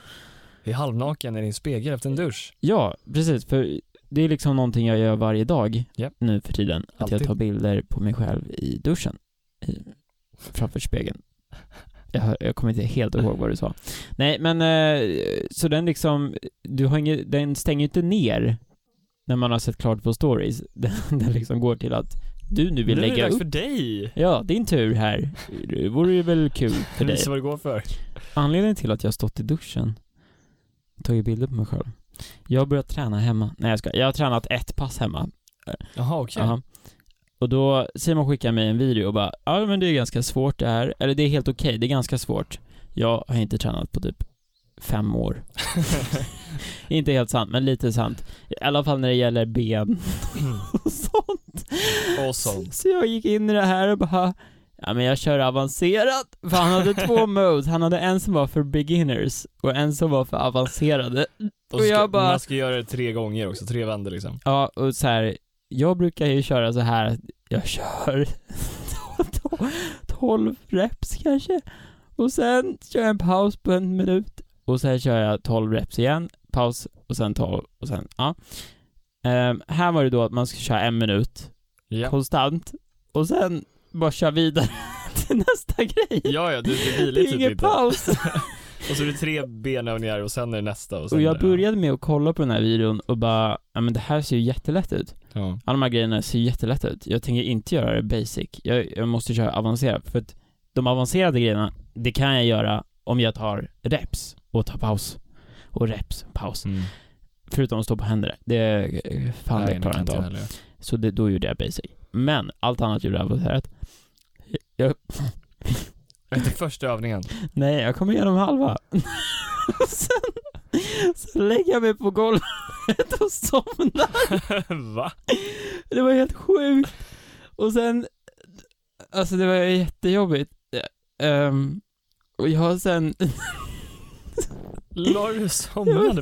[SPEAKER 2] I halvnaken i din spegel efter en dusch.
[SPEAKER 1] Ja, precis, för det är liksom någonting jag gör varje dag
[SPEAKER 2] Ja.
[SPEAKER 1] nu för tiden, att jag
[SPEAKER 2] Alltid.
[SPEAKER 1] tar bilder på mig själv i duschen, i, framför spegeln. Jag, hör- jag kommer inte helt ihåg vad du sa. Nej, men eh, så den liksom, du har ingen, den stänger ju inte ner när man har sett klart på stories. Den, den liksom går till att du nu vill
[SPEAKER 2] nu är det
[SPEAKER 1] lägga
[SPEAKER 2] dags
[SPEAKER 1] upp.
[SPEAKER 2] för dig!
[SPEAKER 1] Ja, din tur här. Det vore ju väl kul för dig.
[SPEAKER 2] Visa vad det går för.
[SPEAKER 1] Anledningen till att jag har stått i duschen, tagit bilder på mig själv. Jag har börjat träna hemma. Nej jag ska. Jag har tränat ett pass hemma.
[SPEAKER 2] Jaha, okej.
[SPEAKER 1] Jaha. Och då, Simon skickar mig en video och bara ja men det är ganska svårt det här, eller det är helt okej, det är ganska svårt. Jag har inte tränat på typ fem år. inte helt sant, men lite sant. I alla fall när det gäller ben och sånt.
[SPEAKER 2] Och sånt.
[SPEAKER 1] Så jag gick in i det här och bara Ja men jag kör avancerat, för han hade två modes, han hade en som var för beginners och en som var för avancerade.
[SPEAKER 2] Och
[SPEAKER 1] Och
[SPEAKER 2] ska,
[SPEAKER 1] jag bara-
[SPEAKER 2] Man ska göra det tre gånger också, tre vändor liksom.
[SPEAKER 1] Ja, och så här, jag brukar ju köra så här att jag kör 12 reps kanske, och sen kör jag en paus på en minut, och sen kör jag 12 reps igen, paus, och sen 12, och sen, ja. Ehm, här var det då att man ska köra en minut
[SPEAKER 2] Ja,
[SPEAKER 1] konstant, och sen bara köra vidare till nästa grej.
[SPEAKER 2] ja, ja du, du
[SPEAKER 1] det
[SPEAKER 2] vilar
[SPEAKER 1] är
[SPEAKER 2] typ
[SPEAKER 1] ingen
[SPEAKER 2] inte.
[SPEAKER 1] paus.
[SPEAKER 2] Och så är det tre benövningar och sen är det nästa och sen
[SPEAKER 1] Och
[SPEAKER 2] ja.
[SPEAKER 1] jag började med att kolla på den här videon och bara, ja men det här ser ju jättelätt ut.
[SPEAKER 2] Ja.
[SPEAKER 1] Alla de här grejerna ser jättelätt ut. Jag tänker inte göra det basic. Jag, jag måste köra avancerat, för att de avancerade grejerna, det kan jag göra om jag tar reps och tar paus. Och reps, paus.
[SPEAKER 2] Mm.
[SPEAKER 1] Förutom att stå på händer. Det, fan
[SPEAKER 2] Nej,
[SPEAKER 1] det
[SPEAKER 2] det
[SPEAKER 1] klarar jag
[SPEAKER 2] kan
[SPEAKER 1] inte
[SPEAKER 2] inte
[SPEAKER 1] av.
[SPEAKER 2] heller.
[SPEAKER 1] Så det, då gjorde jag basic. Men allt annat gjorde jag avancerat. Jag,
[SPEAKER 2] Efter första övningen.
[SPEAKER 1] nej, jag kom igenom halva. sen, sen lägger jag mig på golvet och somnar.
[SPEAKER 2] Va?
[SPEAKER 1] Det var helt sjukt. Och sen, alltså det var jättejobbigt. Ehm, och jag har sen,
[SPEAKER 2] La du somnade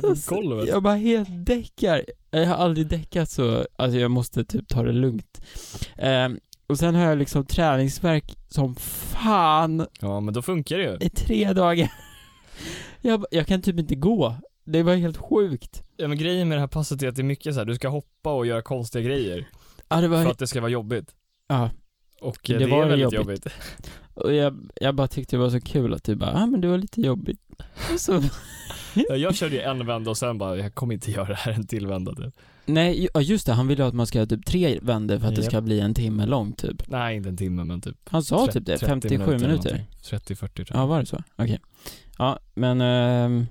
[SPEAKER 2] på golvet?
[SPEAKER 1] jag bara helt däckar. Jag har aldrig däckat så, alltså jag måste typ ta det lugnt. Ehm, och sen har jag liksom träningsvärk som fan
[SPEAKER 2] Ja, men då funkar det ju.
[SPEAKER 1] i tre dagar. Jag, bara- jag kan typ inte gå. Det var helt sjukt.
[SPEAKER 2] Ja, men grejen med det här passet är att det är mycket så här, du ska hoppa och göra konstiga grejer
[SPEAKER 1] Ja, det var,
[SPEAKER 2] för att det ska vara jobbigt.
[SPEAKER 1] ja.
[SPEAKER 2] Och
[SPEAKER 1] Det
[SPEAKER 2] eh, det,
[SPEAKER 1] var
[SPEAKER 2] är
[SPEAKER 1] ju
[SPEAKER 2] väldigt
[SPEAKER 1] jobbigt.
[SPEAKER 2] jobbigt.
[SPEAKER 1] Och jag, jag bara tyckte det var så kul att du bara, ja ah, men det var lite jobbigt. Och så
[SPEAKER 2] Ja, Jag körde ju en vända och sen bara, jag kommer inte göra det här en till vända typ.
[SPEAKER 1] Nej, ju- ja, just det. Han vill ju att man ska göra typ tre vändor för att det
[SPEAKER 2] Japp.
[SPEAKER 1] ska bli en timme lång typ.
[SPEAKER 2] Nej, inte en timme men typ
[SPEAKER 1] Han sa typ det,
[SPEAKER 2] 30
[SPEAKER 1] 57
[SPEAKER 2] eller
[SPEAKER 1] minuter.
[SPEAKER 2] någonting. 30-40 tror
[SPEAKER 1] Ja,
[SPEAKER 2] jag.
[SPEAKER 1] var det så? Okej. Ja, men ehm,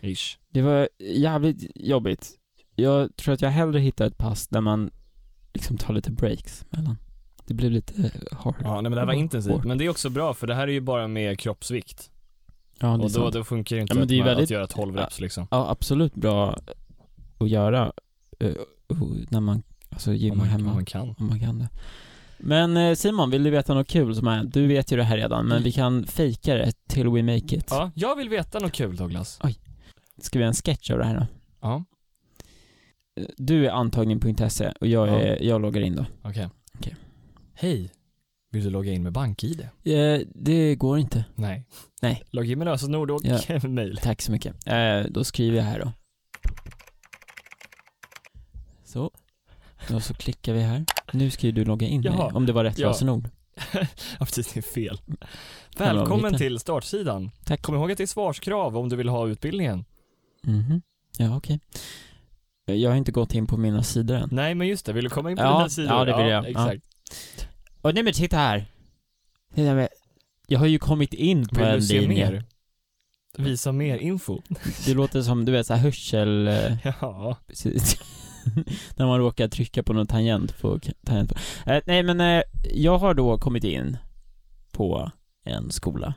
[SPEAKER 2] Ish.
[SPEAKER 1] det var jävligt jobbigt. Jag tror att jag hellre hittar ett pass där man liksom tar lite breaks mellan. Det blev lite eh, hard.
[SPEAKER 2] Ja, nej, men det här var intensivt. Men det är också bra för det här är ju bara med kroppsvikt.
[SPEAKER 1] Ja, det är
[SPEAKER 2] Och då,
[SPEAKER 1] sant.
[SPEAKER 2] då funkar ju inte
[SPEAKER 1] Ja, men
[SPEAKER 2] att,
[SPEAKER 1] det är ju
[SPEAKER 2] man,
[SPEAKER 1] väldigt-
[SPEAKER 2] att göra 12 reps liksom.
[SPEAKER 1] Ja, absolut bra att göra eh, oh, när man, alltså
[SPEAKER 2] Om
[SPEAKER 1] gymmar
[SPEAKER 2] man, om
[SPEAKER 1] hemma.
[SPEAKER 2] man kan.
[SPEAKER 1] Om man kan det. Men eh, Simon, vill du veta något kul som har hänt? Du vet ju det här redan, men vi kan fejka det till we make it.
[SPEAKER 2] Mm. Ja, jag vill veta något kul Douglas.
[SPEAKER 1] Ska vi göra en sketch av det här då?
[SPEAKER 2] Ja,
[SPEAKER 1] Eh, Du är antagning.se och jag, är, jag loggar in då.
[SPEAKER 2] okej.
[SPEAKER 1] Okej.
[SPEAKER 2] Hej. Vill du logga in med BankID?
[SPEAKER 1] Eh, det går inte.
[SPEAKER 2] Nej.
[SPEAKER 1] Nej.
[SPEAKER 2] Logga in med lösenord och
[SPEAKER 1] Ja.
[SPEAKER 2] mail.
[SPEAKER 1] Tack så mycket. Eh, då skriver jag här då. Så. Och så klickar vi här. Nu ska ju du logga in
[SPEAKER 2] Jaha.
[SPEAKER 1] dig, om det var rätt
[SPEAKER 2] Ja.
[SPEAKER 1] lösenord.
[SPEAKER 2] Ja, precis, det är fel.
[SPEAKER 1] Hallå,
[SPEAKER 2] Välkommen
[SPEAKER 1] Victor.
[SPEAKER 2] till startsidan.
[SPEAKER 1] Mm. Tack.
[SPEAKER 2] Kom ihåg att det är svarskrav om du vill ha utbildningen.
[SPEAKER 1] Mhm. Ja, okej. Jag har inte gått in på mina sidor än.
[SPEAKER 2] Nej, men just det. Vill du komma in på
[SPEAKER 1] Ja,
[SPEAKER 2] dina sidor?
[SPEAKER 1] ja, det vill jag. Ja.
[SPEAKER 2] Exakt.
[SPEAKER 1] Och nej men titta här. Titta här. Jag har ju kommit in på
[SPEAKER 2] Vill
[SPEAKER 1] en
[SPEAKER 2] du se
[SPEAKER 1] linje.
[SPEAKER 2] mer? Visa mer info.
[SPEAKER 1] Det låter som, du vet, så här hörsel... eh,
[SPEAKER 2] Ja.
[SPEAKER 1] Precis. När man råkar trycka på någon tangent på... Tangent på. Eh, nej men, eh, jag har då kommit in på en skola.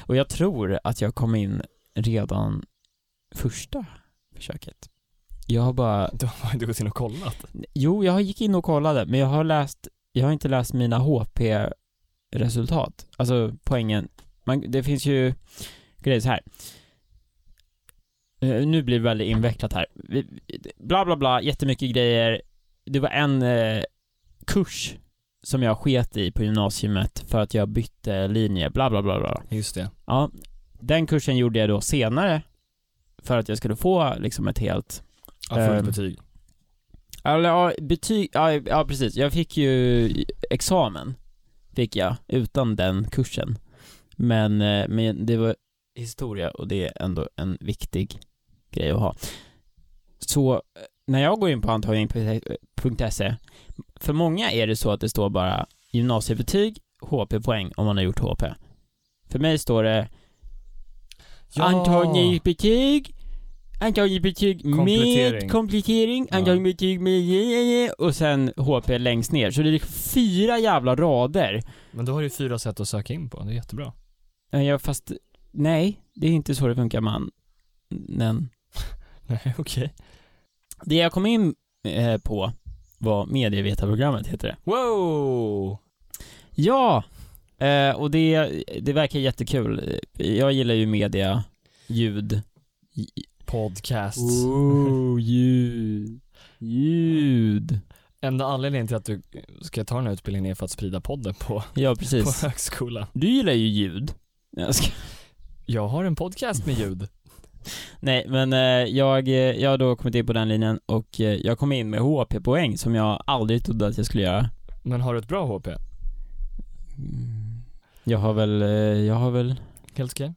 [SPEAKER 1] Och jag tror att jag kom in redan första försöket. Jag har bara...
[SPEAKER 2] Då har du gått in och kollat.
[SPEAKER 1] Jo, jag gick in och kollade, men jag har läst... Jag har inte läst mina HP-resultat. Alltså poängen. Man, det finns ju grejer så här. Eh, Nu blir det väldigt invecklat här. Vi- Bla, bla, bla, jättemycket grejer. Det var en eh, kurs som jag sket i på gymnasiet för att jag bytte linje, bla, bla, bla, bla.
[SPEAKER 2] Just det.
[SPEAKER 1] Ja, den kursen gjorde jag då senare för att jag skulle få liksom ett helt
[SPEAKER 2] Ja, fullt
[SPEAKER 1] Ehm.
[SPEAKER 2] betyg.
[SPEAKER 1] Eller ja, betyg, ja, ja precis. Jag fick ju examen. fick jag utan den kursen. Men, eh, men det var historia och det är ändå en viktig grej att ha. Så eh, när jag går in på antagning.se, för många är det så att det står bara gymnasiebetyg, HP-poäng om man har gjort HP. För mig står det antagningsbetyg, antagningsbetyg
[SPEAKER 2] Komplettering.
[SPEAKER 1] med komplettering,
[SPEAKER 2] Ja.
[SPEAKER 1] antagningsbetyg med och sen HP längst ner. Så det är fyra jävla rader.
[SPEAKER 2] Men då har du fyra sätt att söka in på, det är jättebra.
[SPEAKER 1] Eh, Jag fast, nej, det är inte så det funkar man. Men
[SPEAKER 2] Nej, okej.
[SPEAKER 1] det jag kom in eh, på var medievetarprogrammet heter det.
[SPEAKER 2] Wow!
[SPEAKER 1] Ja! Eh, och det, det verkar jättekul. Jag gillar ju media, ljud.
[SPEAKER 2] Podcast.
[SPEAKER 1] Oh, ljud. Ljud.
[SPEAKER 2] Enda anledningen till att du ska ta den här utbildningen är för att sprida podden på,
[SPEAKER 1] Ja,
[SPEAKER 2] på
[SPEAKER 1] precis.
[SPEAKER 2] högskolan.
[SPEAKER 1] Du gillar ju ljud. Jag ska...
[SPEAKER 2] Jag har en podcast med ljud.
[SPEAKER 1] Nej, men eh, jag, eh, jag har då kommit in på den linjen och eh, jag kom in med HP-poäng som jag aldrig trodde att jag skulle göra.
[SPEAKER 2] Men har du ett bra HP?
[SPEAKER 1] Mm. Jag har väl, eh, jag har väl
[SPEAKER 2] Helt okej.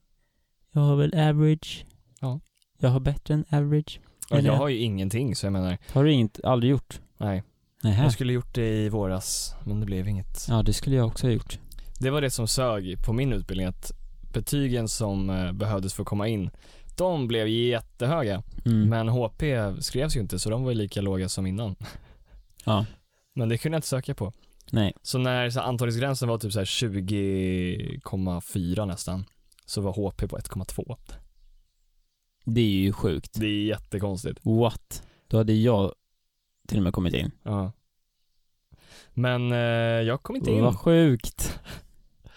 [SPEAKER 1] Jag har väl average.
[SPEAKER 2] Ja.
[SPEAKER 1] Jag har bättre än average.
[SPEAKER 2] Ja,
[SPEAKER 1] Eller-
[SPEAKER 2] Jag har ju ingenting, så jag menar,
[SPEAKER 1] Har du inget, aldrig gjort?
[SPEAKER 2] nej.
[SPEAKER 1] Nähä.
[SPEAKER 2] Jag skulle gjort det i våras, men det blev inget.
[SPEAKER 1] Äh. Ja, det skulle jag också ha gjort.
[SPEAKER 2] Det var det som sög på min utbildning, att betygen som eh, behövdes för att komma in, de blev jättehöga.
[SPEAKER 1] Mm.
[SPEAKER 2] Men HP skrevs ju inte, så de var ju lika låga som innan.
[SPEAKER 1] Ja.
[SPEAKER 2] Men det kunde jag inte söka på.
[SPEAKER 1] Nej.
[SPEAKER 2] Så när så här, antagningsgränsen var typ så här 20,4 nästan, så var HP på 1,2.
[SPEAKER 1] Det är ju sjukt.
[SPEAKER 2] Det är jättekonstigt.
[SPEAKER 1] What? Då hade jag till och med kommit in.
[SPEAKER 2] Ja. Men eh, jag kom inte in.
[SPEAKER 1] Vad sjukt.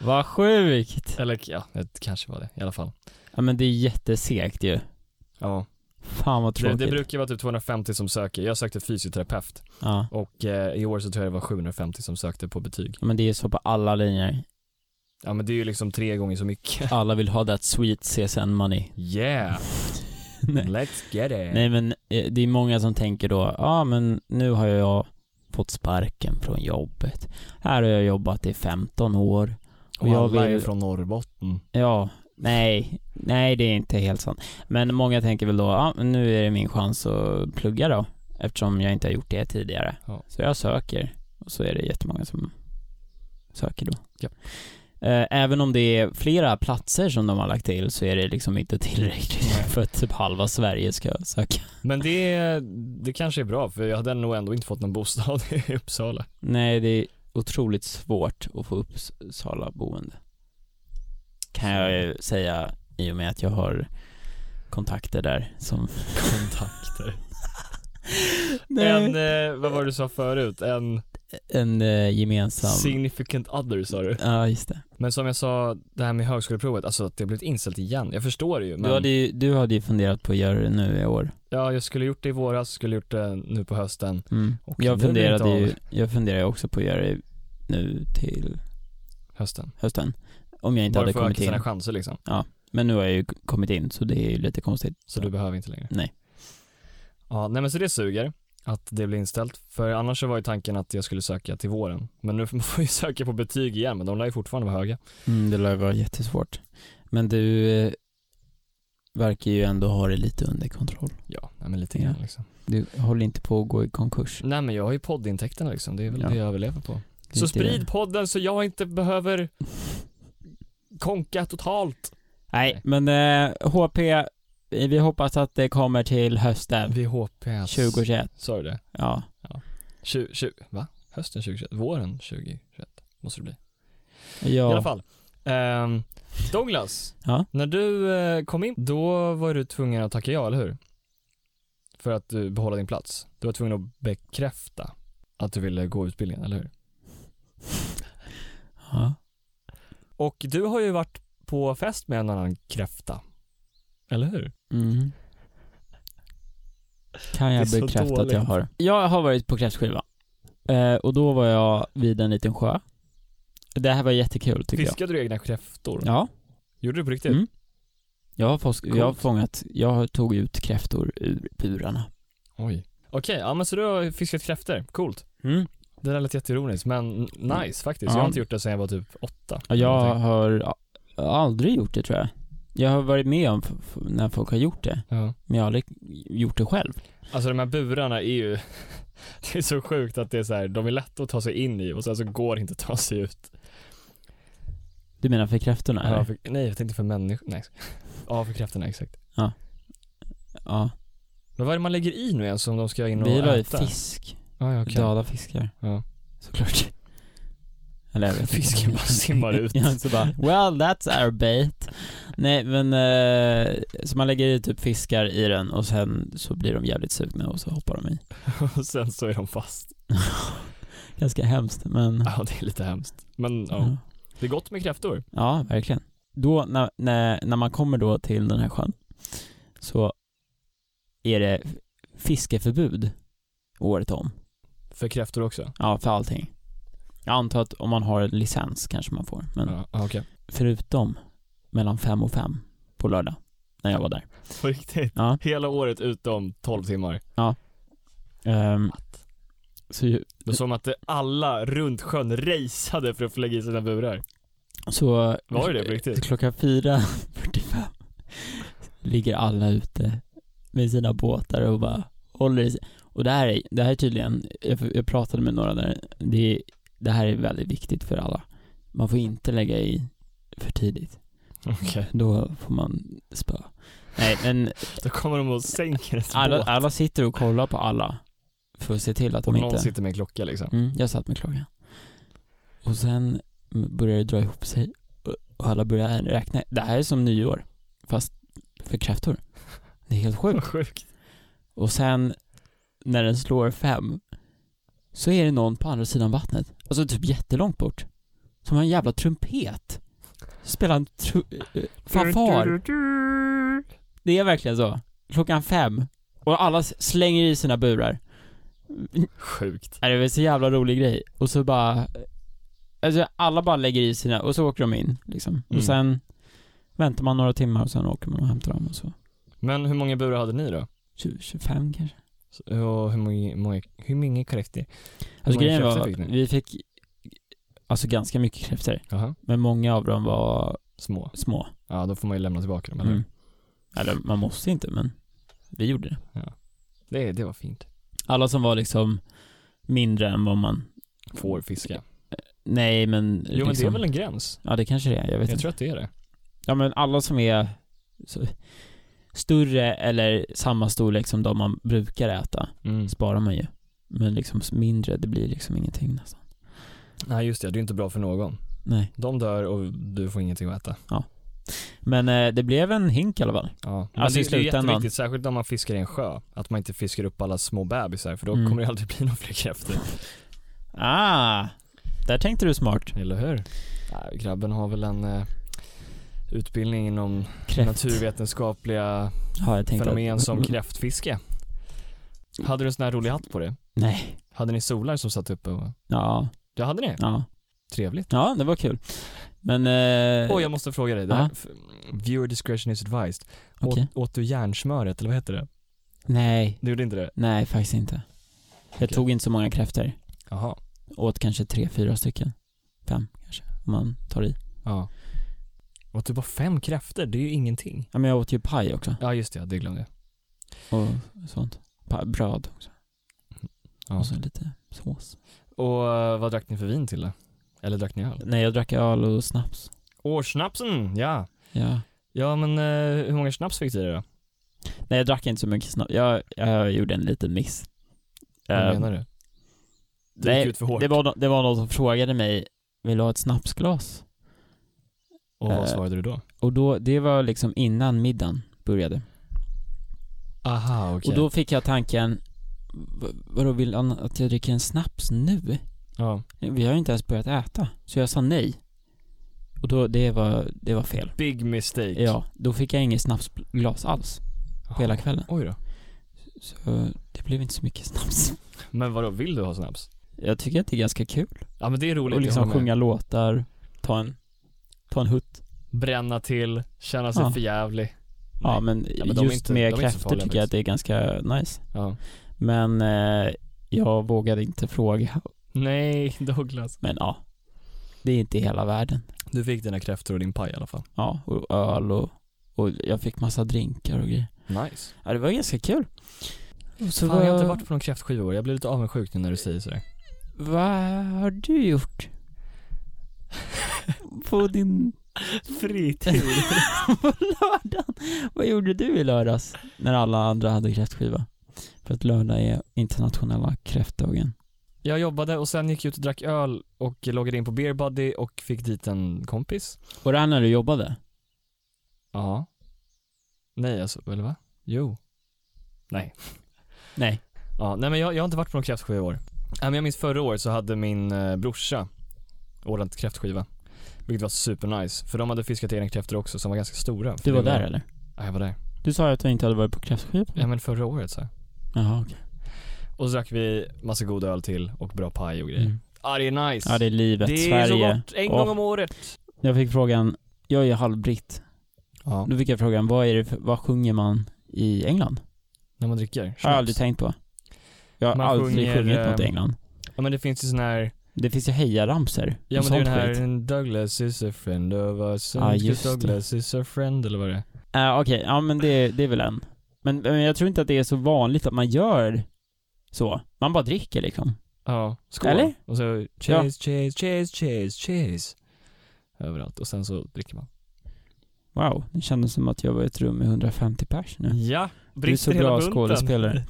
[SPEAKER 1] Vad sjukt.
[SPEAKER 2] Eller ja, det kanske var det i alla fall.
[SPEAKER 1] Ja men det är jättesegt ju.
[SPEAKER 2] Ja.
[SPEAKER 1] Fan vad
[SPEAKER 2] Det,
[SPEAKER 1] tråkigt.
[SPEAKER 2] det brukar vara typ 250 som söker. Jag sökte fysioterapeut
[SPEAKER 1] Ja.
[SPEAKER 2] och eh, i år så tror jag det var 750 som sökte på betyg.
[SPEAKER 1] Ja, Men det är så på alla linjer.
[SPEAKER 2] Ja men det är ju liksom tre gånger så mycket.
[SPEAKER 1] Alla vill ha that sweet CSN money.
[SPEAKER 2] Yeah,
[SPEAKER 1] Nej.
[SPEAKER 2] let's get it.
[SPEAKER 1] Nej men eh, det är många som tänker då, ja ah, men nu har jag fått sparken från jobbet. Här har jag jobbat i 15 år.
[SPEAKER 2] och
[SPEAKER 1] jag
[SPEAKER 2] alla
[SPEAKER 1] vill-
[SPEAKER 2] är från Norrbotten.
[SPEAKER 1] Ja, nej, nej det är inte helt sant. Men många tänker väl då, ja men nu är det min chans att plugga då. Eftersom jag inte har gjort det tidigare.
[SPEAKER 2] Ja.
[SPEAKER 1] Så jag söker. Och så är det jättemånga som söker då.
[SPEAKER 2] Ja.
[SPEAKER 1] Eh, Även om det är flera platser som de har lagt till så är det liksom inte tillräckligt
[SPEAKER 2] Nej.
[SPEAKER 1] för att typ halva Sverige ska söka.
[SPEAKER 2] Men det, det kanske är bra för jag hade nog ändå inte fått någon bostad i Uppsala.
[SPEAKER 1] Nej, det är otroligt svårt att få Uppsala boende. Kan jag ju säga i och med att jag har kontakter där som...
[SPEAKER 2] Kontakter. En, eh, vad var det du sa förut? En
[SPEAKER 1] En eh, gemensam...
[SPEAKER 2] significant other sa du.
[SPEAKER 1] Ja, just det.
[SPEAKER 2] Men som jag sa, det här med högskoleprovet, alltså att det har blivit inställt igen. Jag förstår det ju, men
[SPEAKER 1] Du, hade ju, du hade ju funderat på att göra det nu i år.
[SPEAKER 2] ja, jag skulle gjort det i våras, skulle gjort det nu på hösten.
[SPEAKER 1] Mm.
[SPEAKER 2] Och
[SPEAKER 1] Jag
[SPEAKER 2] nu blir det
[SPEAKER 1] funderade
[SPEAKER 2] inte
[SPEAKER 1] ju, jag funderar ju också på att göra det nu till
[SPEAKER 2] Hösten.
[SPEAKER 1] hösten. Om jag inte
[SPEAKER 2] Bara
[SPEAKER 1] hade
[SPEAKER 2] för att
[SPEAKER 1] kommit
[SPEAKER 2] öka
[SPEAKER 1] in.
[SPEAKER 2] sina chanser liksom.
[SPEAKER 1] Men nu har jag ju kommit in, så det är ju lite konstigt.
[SPEAKER 2] Så du behöver inte längre.
[SPEAKER 1] Nej.
[SPEAKER 2] Ja, nej men så det suger att det blir inställt. För annars så var ju tanken att jag skulle söka till våren. Men nu får man ju söka på betyg igen, men de lär ju fortfarande vara höga.
[SPEAKER 1] Mm, det lär vara jättesvårt. Men du eh, verkar ju ändå ha det lite under kontroll.
[SPEAKER 2] Ja, nej men lite
[SPEAKER 1] Ja.
[SPEAKER 2] grann liksom.
[SPEAKER 1] Du håller inte på att gå i konkurs.
[SPEAKER 2] Nej men jag har ju poddintäkterna liksom, det är väl
[SPEAKER 1] Ja.
[SPEAKER 2] det jag överlever på.
[SPEAKER 1] Det är
[SPEAKER 2] Så
[SPEAKER 1] inte-
[SPEAKER 2] sprid podden så jag inte behöver konka totalt.
[SPEAKER 1] Nej, men eh, HP, eh, vi hoppas att det kommer till hösten
[SPEAKER 2] VHPS.
[SPEAKER 1] 2021.
[SPEAKER 2] Sa du det?
[SPEAKER 1] Ja.
[SPEAKER 2] 20, 20, va? Hösten 2021? Våren 2021 måste det bli. I alla
[SPEAKER 1] ja.
[SPEAKER 2] fall. Ehm, Douglas,
[SPEAKER 1] Ja.
[SPEAKER 2] när du eh, kom in, då var du tvungen att tacka ja, eller hur? För att du behålla din plats. Du var tvungen att bekräfta att du ville gå utbildningen, eller hur?
[SPEAKER 1] ja.
[SPEAKER 2] Och du har ju varit på fest med en annan kräfta. Eller hur?
[SPEAKER 1] Mm. Kan
[SPEAKER 2] Det är
[SPEAKER 1] jag
[SPEAKER 2] så
[SPEAKER 1] bekräfta att
[SPEAKER 2] dåligt.
[SPEAKER 1] jag har? Jag har varit på kräftskiva. Eh, och då var jag vid en liten sjö. Det här var jättekul tycker jag.
[SPEAKER 2] Fiskade du egna kräftor?
[SPEAKER 1] Ja.
[SPEAKER 2] Gjorde du på riktigt?
[SPEAKER 1] Mm. Jag har, fås- jag har
[SPEAKER 2] Coolt.
[SPEAKER 1] fångat, jag tog ut kräftor ur burarna.
[SPEAKER 2] Oj. Okej, ja men så du har fiskat kräftor. Coolt. det där lät jätteironiskt men nice faktiskt. Jag
[SPEAKER 1] Ja.
[SPEAKER 2] har inte gjort det sedan jag var typ åtta.
[SPEAKER 1] Ja, jag
[SPEAKER 2] Någonting.
[SPEAKER 1] har a- aldrig gjort det tror jag. Jag har varit med om f- f- när folk har gjort det,
[SPEAKER 2] Ja.
[SPEAKER 1] men jag har aldrig gjort det själv.
[SPEAKER 2] Alltså de här burarna är ju, det är så sjukt att det är så här, de är lätta att ta sig in i och sen så går det inte att ta sig ut.
[SPEAKER 1] Du menar för kräftorna? eller?
[SPEAKER 2] Ja, för, nej, jag tänkte för människor, nej. Ja, för kräftorna, exakt.
[SPEAKER 1] ja.
[SPEAKER 2] Men vad är det man lägger i nu ens om de ska in och
[SPEAKER 1] Vi la ju
[SPEAKER 2] äta?
[SPEAKER 1] fisk.
[SPEAKER 2] Ah, ja, okej.
[SPEAKER 1] Döda fiskar.
[SPEAKER 2] Ja.
[SPEAKER 1] Såklart. Eller jag vet inte.
[SPEAKER 2] Fisken bara simmar ut.
[SPEAKER 1] ja, så bara, well that's our bait. Nej men, eh, så man lägger i typ fiskar i den och sen så blir de jävligt sugna och så hoppar de i.
[SPEAKER 2] Och sen så är de fast.
[SPEAKER 1] Ganska hemskt men,
[SPEAKER 2] Ja, det är lite hemskt. Men Ah, ja,
[SPEAKER 1] ja.
[SPEAKER 2] det är gott med kräftor.
[SPEAKER 1] ja verkligen. Då när, när, när man kommer då till den här sjön så är det fiskeförbud året om.
[SPEAKER 2] För kräftor också?
[SPEAKER 1] Ja, för allting. Jag antar att om man har licens kanske man får, men
[SPEAKER 2] Ja, okej.
[SPEAKER 1] förutom mellan fem och fem på lördag, när jag var där.
[SPEAKER 2] På riktigt?
[SPEAKER 1] Ja.
[SPEAKER 2] Hela året utom 12 timmar.
[SPEAKER 1] Ehm, så, ju-
[SPEAKER 2] Det var som att det- alla runt sjön raceade för att få lägga i sina burar.
[SPEAKER 1] så
[SPEAKER 2] Var det det på riktigt?
[SPEAKER 1] klockan 4.45 ligger alla ute med sina båtar och bara håller i sig. Och det här är, det här är tydligen, jag, jag pratade med några där, det, det här är väldigt viktigt för alla. Man får inte lägga i för tidigt.
[SPEAKER 2] Okej.
[SPEAKER 1] Då får man spö. Nej, men
[SPEAKER 2] Då kommer de och sänker ens
[SPEAKER 1] alla,
[SPEAKER 2] båt.
[SPEAKER 1] alla sitter och kollar på alla för att se till att
[SPEAKER 2] Och
[SPEAKER 1] de
[SPEAKER 2] någon
[SPEAKER 1] inte...
[SPEAKER 2] sitter med en klocka liksom.
[SPEAKER 1] Mm, jag satt med klockan. Och sen började det dra ihop sig och- och alla började räkna. Det här är som nyår, fast för kräftor. Det är helt
[SPEAKER 2] Vad
[SPEAKER 1] sjukt.
[SPEAKER 2] sjukt.
[SPEAKER 1] Och sen när den slår fem så är det någon på andra sidan vattnet, alltså typ jättelångt bort, som har en jävla trumpet. Spelar en tru- eh, fanfar. Det är verkligen så. Klockan fem. Och alla s- slänger i sina burar.
[SPEAKER 2] Sjukt.
[SPEAKER 1] Nej, det var så jävla rolig grej. Och så bara, alltså alla bara lägger i sina, och så åker de in liksom.
[SPEAKER 2] Mm.
[SPEAKER 1] Och sen väntar man några timmar och sen åker man och hämtar dem och så.
[SPEAKER 2] Men hur många burar hade ni då?
[SPEAKER 1] 20, 25 kanske.
[SPEAKER 2] Så- Och hur många, många, hur många kräftor?
[SPEAKER 1] Alltså
[SPEAKER 2] många
[SPEAKER 1] grejen
[SPEAKER 2] kräftor
[SPEAKER 1] var,
[SPEAKER 2] fick ni?
[SPEAKER 1] vi fick, alltså ganska mycket kräftor
[SPEAKER 2] Jaha.
[SPEAKER 1] Men många av dem var
[SPEAKER 2] Små.
[SPEAKER 1] små.
[SPEAKER 2] Ja, då får man ju lämna tillbaka dem, eller
[SPEAKER 1] Mm. Eller man måste inte, men vi gjorde det.
[SPEAKER 2] det, det var fint.
[SPEAKER 1] Alla som var liksom mindre än vad man,
[SPEAKER 2] Får fiska.
[SPEAKER 1] nej men
[SPEAKER 2] Jo,
[SPEAKER 1] liksom,
[SPEAKER 2] men det är väl en gräns?
[SPEAKER 1] Ja det kanske det är, jag vet
[SPEAKER 2] Jag
[SPEAKER 1] inte.
[SPEAKER 2] tror att det är det.
[SPEAKER 1] Ja men alla som är så, större eller samma storlek som de man brukar äta
[SPEAKER 2] Mm.
[SPEAKER 1] sparar man ju. Men liksom mindre, det blir liksom ingenting nästan.
[SPEAKER 2] Nej, just det. Det är inte bra för någon.
[SPEAKER 1] Nej.
[SPEAKER 2] De dör och du får ingenting att äta.
[SPEAKER 1] Men eh, det blev en hink i alla fall.
[SPEAKER 2] Ja. Men
[SPEAKER 1] Alltså, i
[SPEAKER 2] det, det är ju
[SPEAKER 1] slutändan.
[SPEAKER 2] jätteviktigt, särskilt när man fiskar i en sjö, att man inte fiskar upp alla små bebisar, för då
[SPEAKER 1] Mm.
[SPEAKER 2] kommer det aldrig bli några fler kräftor.
[SPEAKER 1] Ah! Där tänkte du smart.
[SPEAKER 2] Eller hur? Ja, grabben har väl en eh, utbildning inom
[SPEAKER 1] Kräft.
[SPEAKER 2] naturvetenskapliga
[SPEAKER 1] Ja, jag tänkte Mm,
[SPEAKER 2] fenomen
[SPEAKER 1] att,
[SPEAKER 2] som kräftfiske. Hade du en sån här rolig hatt på dig?
[SPEAKER 1] Nej.
[SPEAKER 2] Hade ni solar som satt uppe? Och...
[SPEAKER 1] Ja,
[SPEAKER 2] Ja, hade ni?
[SPEAKER 1] ja.
[SPEAKER 2] Trevligt.
[SPEAKER 1] Ja, det var kul. Men... Eh,
[SPEAKER 2] Åh, jag måste fråga dig. Det här, f- viewer discretion is advised.
[SPEAKER 1] Okej.
[SPEAKER 2] Åt, åt du järnsmöret, eller vad heter det?
[SPEAKER 1] Nej,
[SPEAKER 2] Du gjorde inte det?
[SPEAKER 1] nej faktiskt inte. Jag
[SPEAKER 2] Okej.
[SPEAKER 1] tog inte så många kräftor.
[SPEAKER 2] Jaha.
[SPEAKER 1] Åt kanske tre, fyra stycken. Fem kanske, om man tar i.
[SPEAKER 2] Ja. Åt du bara fem kräftor? Det är ju ingenting.
[SPEAKER 1] Ja, men jag åt ju paj också.
[SPEAKER 2] Ja, just det. Det glömde jag.
[SPEAKER 1] och sånt. Pa- bröd också.
[SPEAKER 2] Ja.
[SPEAKER 1] Och så lite sås.
[SPEAKER 2] Och eh, vad drack ni för vin till det? Eller drack ni öl?
[SPEAKER 1] Nej, jag drack öl och snaps.
[SPEAKER 2] Och snapsen, ja.
[SPEAKER 1] Ja.
[SPEAKER 2] Ja, men eh, hur många snaps fick du i det då?
[SPEAKER 1] Nej, jag drack inte så mycket snaps. Jag, jag gjorde en liten miss.
[SPEAKER 2] Vad
[SPEAKER 1] Eh,
[SPEAKER 2] menar du? Du gick
[SPEAKER 1] nej,
[SPEAKER 2] ut för hårt.
[SPEAKER 1] det, var, no- det var någon som frågade mig, vill du ha ett snapsglas?
[SPEAKER 2] Och vad
[SPEAKER 1] eh,
[SPEAKER 2] svarade du då?
[SPEAKER 1] Och då, det var liksom innan middagen började.
[SPEAKER 2] Aha, okej.
[SPEAKER 1] Och då fick jag tanken, "V- vadå vill han att jag dricker en snaps nu?
[SPEAKER 2] Ja.
[SPEAKER 1] Vi har ju inte ens börjat äta. Så jag sa nej. Och då, det var, det var fel.
[SPEAKER 2] Big mistake.
[SPEAKER 1] Ja, då fick jag inget snapsglas alls
[SPEAKER 2] Jaha.
[SPEAKER 1] på hela kvällen.
[SPEAKER 2] Oj då.
[SPEAKER 1] Så det blev inte så mycket snaps.
[SPEAKER 2] Men vadå, vill du ha snaps?
[SPEAKER 1] Jag tycker att det är ganska kul.
[SPEAKER 2] Ja men det är roligt.
[SPEAKER 1] Och
[SPEAKER 2] jag
[SPEAKER 1] liksom
[SPEAKER 2] håller med.
[SPEAKER 1] sjunga låtar, ta en, ta en hutt.
[SPEAKER 2] Bränna till, känna sig
[SPEAKER 1] Ja.
[SPEAKER 2] förjävlig.
[SPEAKER 1] Ja men,
[SPEAKER 2] Ja, men de är
[SPEAKER 1] just
[SPEAKER 2] inte- de är
[SPEAKER 1] med
[SPEAKER 2] inte så
[SPEAKER 1] kräftor
[SPEAKER 2] farliga
[SPEAKER 1] tycker jag att
[SPEAKER 2] faktiskt.
[SPEAKER 1] det är ganska nice.
[SPEAKER 2] Ja.
[SPEAKER 1] Men eh, jag vågade inte fråga
[SPEAKER 2] Nej, Douglas.
[SPEAKER 1] Men ja, det är inte hela världen.
[SPEAKER 2] Du fick dina kräftor och din paj i alla fall.
[SPEAKER 1] Ja, och öl och, och jag fick massa drinkar och grejer.
[SPEAKER 2] Nice.
[SPEAKER 1] Ja, det var ganska kul. Och Så
[SPEAKER 2] Fan, jag har
[SPEAKER 1] var-
[SPEAKER 2] inte varit på någon kräftskiva i år. Jag blir lite avundsjuk nu när du säger sådär.
[SPEAKER 1] Vad har du gjort? på din...
[SPEAKER 2] Fritid.
[SPEAKER 1] på lördagen? Vad gjorde du i lördags? När alla andra hade kräftskiva. För att lördag är internationella kräftdagen.
[SPEAKER 2] jag jobbade och sen gick jag ut och drack öl och loggade in på Beer Buddy och fick dit en kompis.
[SPEAKER 1] Och det här när du jobbade?
[SPEAKER 2] Ja. Nej, alltså, eller va? Jo. Nej.
[SPEAKER 1] Nej.
[SPEAKER 2] Ja, nej men jag, jag har inte varit på någon kräftskiva i år. Nej, men jag minns förra året så hade min eh, brorsa ordnat kräftskiva. Vilket var supernice, för de hade fiskat egna kräftor också som var ganska stora.
[SPEAKER 1] Du var
[SPEAKER 2] Det
[SPEAKER 1] där eller? Mm.
[SPEAKER 2] Ja, jag var där.
[SPEAKER 1] Du sa ju att jag inte hade varit på kräftskiva.
[SPEAKER 2] Ja men förra året så. här.
[SPEAKER 1] Jaha, okej.
[SPEAKER 2] Och så drack vi massa god öl till och bra paj och grejer.
[SPEAKER 1] Mm.
[SPEAKER 2] Ja det är nice.
[SPEAKER 1] Ja, det är livet. Sverige.
[SPEAKER 2] så gott, en
[SPEAKER 1] Åh.
[SPEAKER 2] gång om året.
[SPEAKER 1] Jag fick frågan, jag är ju halvbritt.
[SPEAKER 2] Ja,
[SPEAKER 1] Då fick jag frågan, vad, är det för, vad sjunger man i England?
[SPEAKER 2] när man dricker. Schnapps.
[SPEAKER 1] har jag aldrig tänkt på. Jag har
[SPEAKER 2] Man
[SPEAKER 1] aldrig
[SPEAKER 2] sjunger,
[SPEAKER 1] sjungit något i
[SPEAKER 2] eh,
[SPEAKER 1] England.
[SPEAKER 2] Ja men det finns ju sån här,
[SPEAKER 1] Det finns ju hejaramsor.
[SPEAKER 2] ja
[SPEAKER 1] och
[SPEAKER 2] men det är ju
[SPEAKER 1] sånt
[SPEAKER 2] den här
[SPEAKER 1] skit.
[SPEAKER 2] Douglas is a friend of us.
[SPEAKER 1] Ja, just det.
[SPEAKER 2] Douglas is a friend eller vad det är.
[SPEAKER 1] Eh, Okej, ja men det, det är väl en. Men, men jag tror inte att det är så vanligt att man gör så. Man bara dricker liksom.
[SPEAKER 2] Ja, skål.
[SPEAKER 1] Eller?
[SPEAKER 2] Och så cheers, cheers, cheers, cheers, cheers. Överallt. Och sen så dricker man.
[SPEAKER 1] Wow, det kändes som att jag var i ett rum med 150 pers nu.
[SPEAKER 2] Ja,
[SPEAKER 1] Du är så bra skådespelare.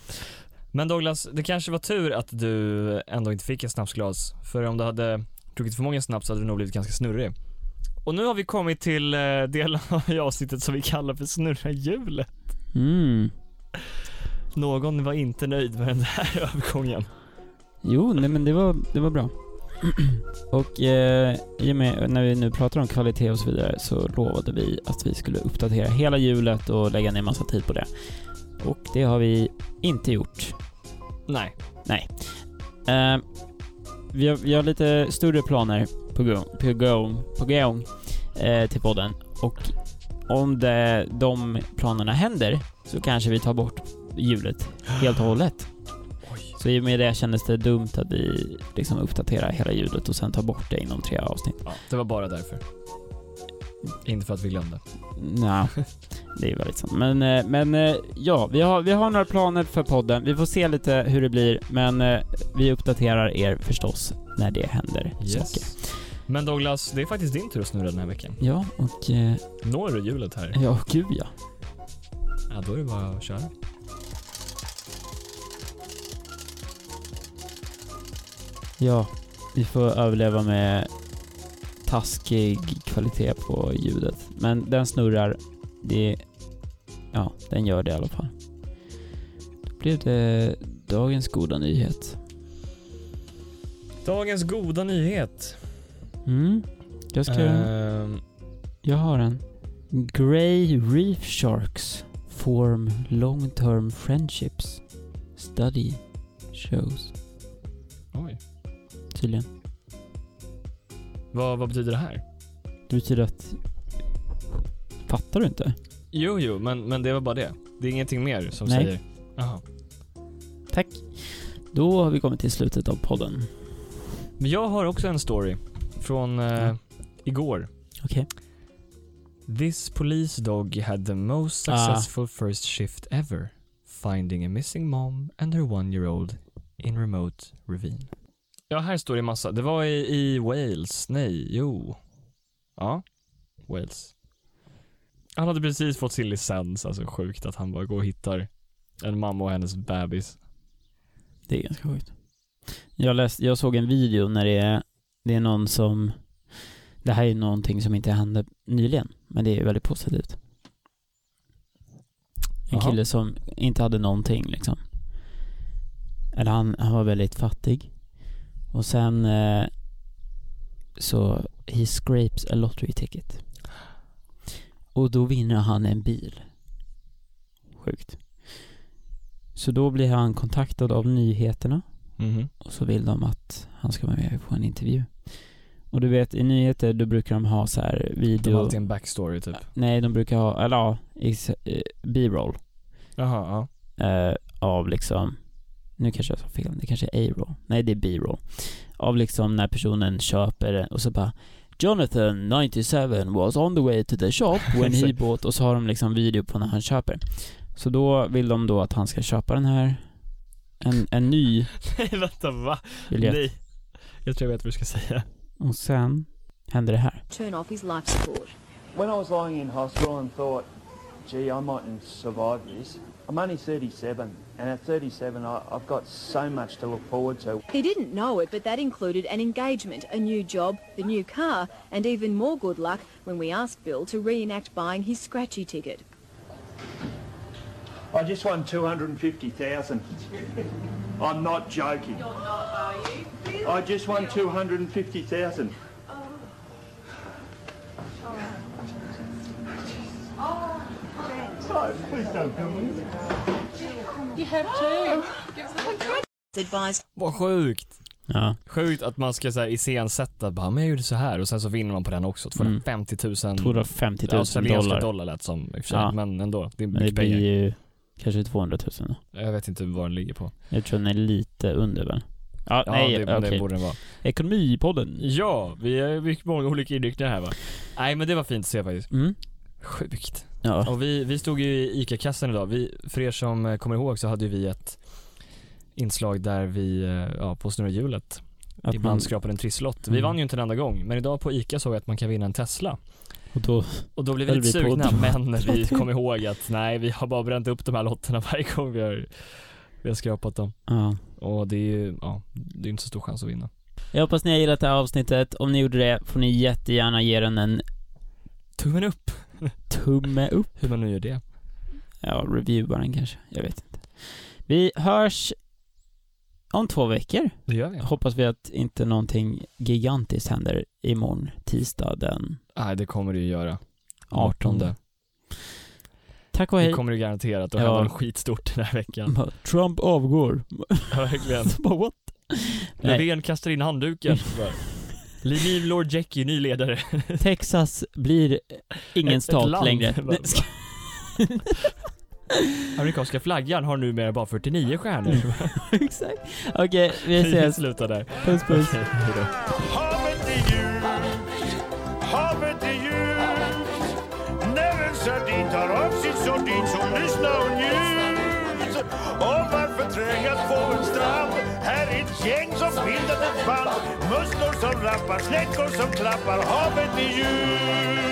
[SPEAKER 2] Men Douglas, det kanske var tur att du ändå inte fick ett snapsglas. För om du hade druckit för många snaps hade du nog blivit ganska snurrig. Och nu har vi kommit till eh, delen av avsnittet som vi kallar för snurra hjulet.
[SPEAKER 1] Mm.
[SPEAKER 2] Någon var inte nöjd med den här övergången.
[SPEAKER 1] Jo, nej men det var, det var bra. och eh, i och med, när vi nu pratar om kvalitet och så vidare så lovade vi att vi skulle uppdatera hela hjulet och lägga ner massa tid på det. Och det har vi inte gjort.
[SPEAKER 2] Nej.
[SPEAKER 1] Eh, vi, har, vi har lite större planer på gång, på gång, på gång eh, till podden. Och om det, de planerna händer så kanske vi tar bort hjulet helt och hållet.
[SPEAKER 2] Oj.
[SPEAKER 1] Så i och med det kändes det dumt att vi liksom uppdaterar hela ljudet och sen tar bort det inom tre avsnitt.
[SPEAKER 2] Ja, det var bara därför. Inte för att vi glömde.
[SPEAKER 1] Nja, det är ju väldigt sant. Men, eh, men eh, ja, vi har, vi har några planer för podden. Vi får se lite hur det blir, men eh, vi uppdaterar er förstås när det händer saker.
[SPEAKER 2] Men Douglas, det är faktiskt din tur att snurra den här veckan.
[SPEAKER 1] Ja, och eh,
[SPEAKER 2] Når du hjulet här?
[SPEAKER 1] ja, gud ja.
[SPEAKER 2] Ja, då är det bara att köra.
[SPEAKER 1] Ja, vi får överleva med taskig kvalitet på ljudet. Men den snurrar. Det... Ja, den gör det i alla fall. Då blev det dagens goda nyhet.
[SPEAKER 2] Dagens goda nyhet.
[SPEAKER 1] Mm. Jag ska...
[SPEAKER 2] Ehm,
[SPEAKER 1] Eh. Jag har en. Grey reef sharks form long term friendships. Study shows.
[SPEAKER 2] oj.
[SPEAKER 1] Tydligen.
[SPEAKER 2] Vad, vad betyder det här?
[SPEAKER 1] Det betyder att... Fattar du inte?
[SPEAKER 2] Jo, jo, men, men det var bara det. Det är ingenting mer som
[SPEAKER 1] Nej.
[SPEAKER 2] säger... Jaha.
[SPEAKER 1] Tack. Då har vi kommit till slutet av podden.
[SPEAKER 2] Men jag har också en story från eh,
[SPEAKER 1] Ja.
[SPEAKER 2] igår.
[SPEAKER 1] Okej.
[SPEAKER 2] This police dog had the most
[SPEAKER 1] Ah.
[SPEAKER 2] successful first shift ever. Finding a missing mom and her one year old in remote ravine. Ja, här står det massa. Det var i, i Wales. Nej, jo. Ja. Wales. Han hade precis fått sin licens. Alltså sjukt att han bara går och hittar en mamma och hennes bebis.
[SPEAKER 1] Det är ganska sjukt. Jag, läste, jag såg en video när det är, det är någon som... Det här är ju någonting som inte hände nyligen, men det är ju väldigt positivt. En
[SPEAKER 2] Jaha.
[SPEAKER 1] kille som inte hade någonting liksom. Eller han, han var väldigt fattig. Och sen eh, så, he scrapes a lottery ticket. Och då vinner han en bil. Sjukt. Så då blir han kontaktad av nyheterna
[SPEAKER 2] Mhm.
[SPEAKER 1] och så vill de att han ska vara med på en intervju. Och du vet, i nyheter då brukar de ha så här
[SPEAKER 2] Det var
[SPEAKER 1] video...
[SPEAKER 2] alltid en backstory typ.
[SPEAKER 1] Nej, de brukar ha, eller ja, is- eh, B-roll
[SPEAKER 2] Jaha, ja.
[SPEAKER 1] eh, av liksom... Nu kanske jag sa fel, det kanske är A-roll. Nej, det är B-roll. av liksom när personen köper den och så bara Jonathan 97 was on the way to the shop when he
[SPEAKER 2] Exakt.
[SPEAKER 1] bought och så har de liksom video på när han köper. Så då vill de då att han ska köpa den här en, en ny
[SPEAKER 2] Nej vänta va?
[SPEAKER 1] biljett
[SPEAKER 2] Nej. Jag tror jag vet vad du ska säga.
[SPEAKER 1] och sen händer det här.
[SPEAKER 3] Turn off his life support.
[SPEAKER 4] When I was lying in hospital and thought, gee, I mightn't survive this, I'm only 37, and at 37 I, I've got so much to look forward to.
[SPEAKER 3] He didn't know it, but that included an engagement, a new job, the new car, and even more good luck when we asked Bill to reenact buying his scratchy ticket.
[SPEAKER 4] I just won 250,000. I'm not joking. You're not, are you? I just won 250,000. Oh, please don't come with me.
[SPEAKER 3] Advised
[SPEAKER 2] Vad sjukt.
[SPEAKER 1] Ja.
[SPEAKER 2] Sjukt att man ska så här iscensätta bara, men jag gjorde så här och sen så vinner man på den också. 250 000
[SPEAKER 1] 250 000
[SPEAKER 2] australienska
[SPEAKER 1] Mm. dollar.
[SPEAKER 2] dollar. lät som i och för sig,
[SPEAKER 1] Ja.
[SPEAKER 2] men ändå. Det är
[SPEAKER 1] Men det
[SPEAKER 2] mycket
[SPEAKER 1] blir
[SPEAKER 2] pengar.
[SPEAKER 1] ju kanske 200 000 då.
[SPEAKER 2] Jag vet inte vad den ligger på.
[SPEAKER 1] Jag tror den är lite under väl? Ja,
[SPEAKER 2] Ja,
[SPEAKER 1] nej,
[SPEAKER 2] det,
[SPEAKER 1] okej.
[SPEAKER 2] det borde den vara.
[SPEAKER 1] Ekonomipodden.
[SPEAKER 2] Ja, vi har mycket många olika inriktningar här va? Nej men det var fint att se faktiskt.
[SPEAKER 1] Mm.
[SPEAKER 2] Sjukt.
[SPEAKER 1] Ja.
[SPEAKER 2] Och vi, vi stod ju i ICA-kassan idag. Vi, för er som eh, kommer ihåg så hade ju vi ett inslag där vi, eh, ja, på snurra hjulet,
[SPEAKER 1] Att
[SPEAKER 2] ibland
[SPEAKER 1] man,
[SPEAKER 2] skrapade en trisslott. Vi
[SPEAKER 1] Mm.
[SPEAKER 2] vann ju inte en enda gång, men idag på ICA såg jag att man kan vinna en Tesla.
[SPEAKER 1] och då,
[SPEAKER 2] Och då blev vi
[SPEAKER 1] Höll
[SPEAKER 2] lite
[SPEAKER 1] vi på
[SPEAKER 2] sugna,
[SPEAKER 1] att-
[SPEAKER 2] men vi kom ihåg att nej, vi har bara bränt upp de här lotterna varje gång vi har, vi har skrapat dem.
[SPEAKER 1] ja.
[SPEAKER 2] Och det är ju, ja, det är inte så stor chans att vinna.
[SPEAKER 1] Jag hoppas ni har gillat det här avsnittet. Om ni gjorde det får ni jättegärna ge den en
[SPEAKER 2] Tummen upp!
[SPEAKER 1] tumme upp.
[SPEAKER 2] Hur man nu gör det.
[SPEAKER 1] Ja, reviewa den kanske. Jag vet inte. Vi hörs om två veckor.
[SPEAKER 2] Det gör vi.
[SPEAKER 1] Hoppas vi att inte någonting gigantiskt händer imorgon, tisdag den
[SPEAKER 2] Nej, det kommer du ju göra.
[SPEAKER 1] 18.
[SPEAKER 2] 18.
[SPEAKER 1] Tack och
[SPEAKER 2] Det
[SPEAKER 1] hej.
[SPEAKER 2] kommer du garanterat och
[SPEAKER 1] Ja.
[SPEAKER 2] hända något skitstort den här veckan.
[SPEAKER 1] Trump avgår.
[SPEAKER 2] Ja, verkligen.
[SPEAKER 1] Så bara, what? Nej.
[SPEAKER 2] Löfven kastar in handduken. Liv Lord Jackie, ny ledare.
[SPEAKER 1] Texas blir ingen
[SPEAKER 2] Ett- ett
[SPEAKER 1] stat
[SPEAKER 2] land.
[SPEAKER 1] längre.
[SPEAKER 2] Bara- Amerikanska flaggan har numera bara 49 stjärnor.
[SPEAKER 1] Exakt. Okej, vi ses.
[SPEAKER 2] slutar där.
[SPEAKER 1] Puss puss.
[SPEAKER 2] Okej, hejdå.
[SPEAKER 5] Harvard to you, Harvard to you. Never sardine tar av sitt sordin som lyssnar och njut. Och varför trängas på en strand? Här är ett gäng som bildat ett band. Musslor som rappar, snäckor som klappar. Havet är djupt.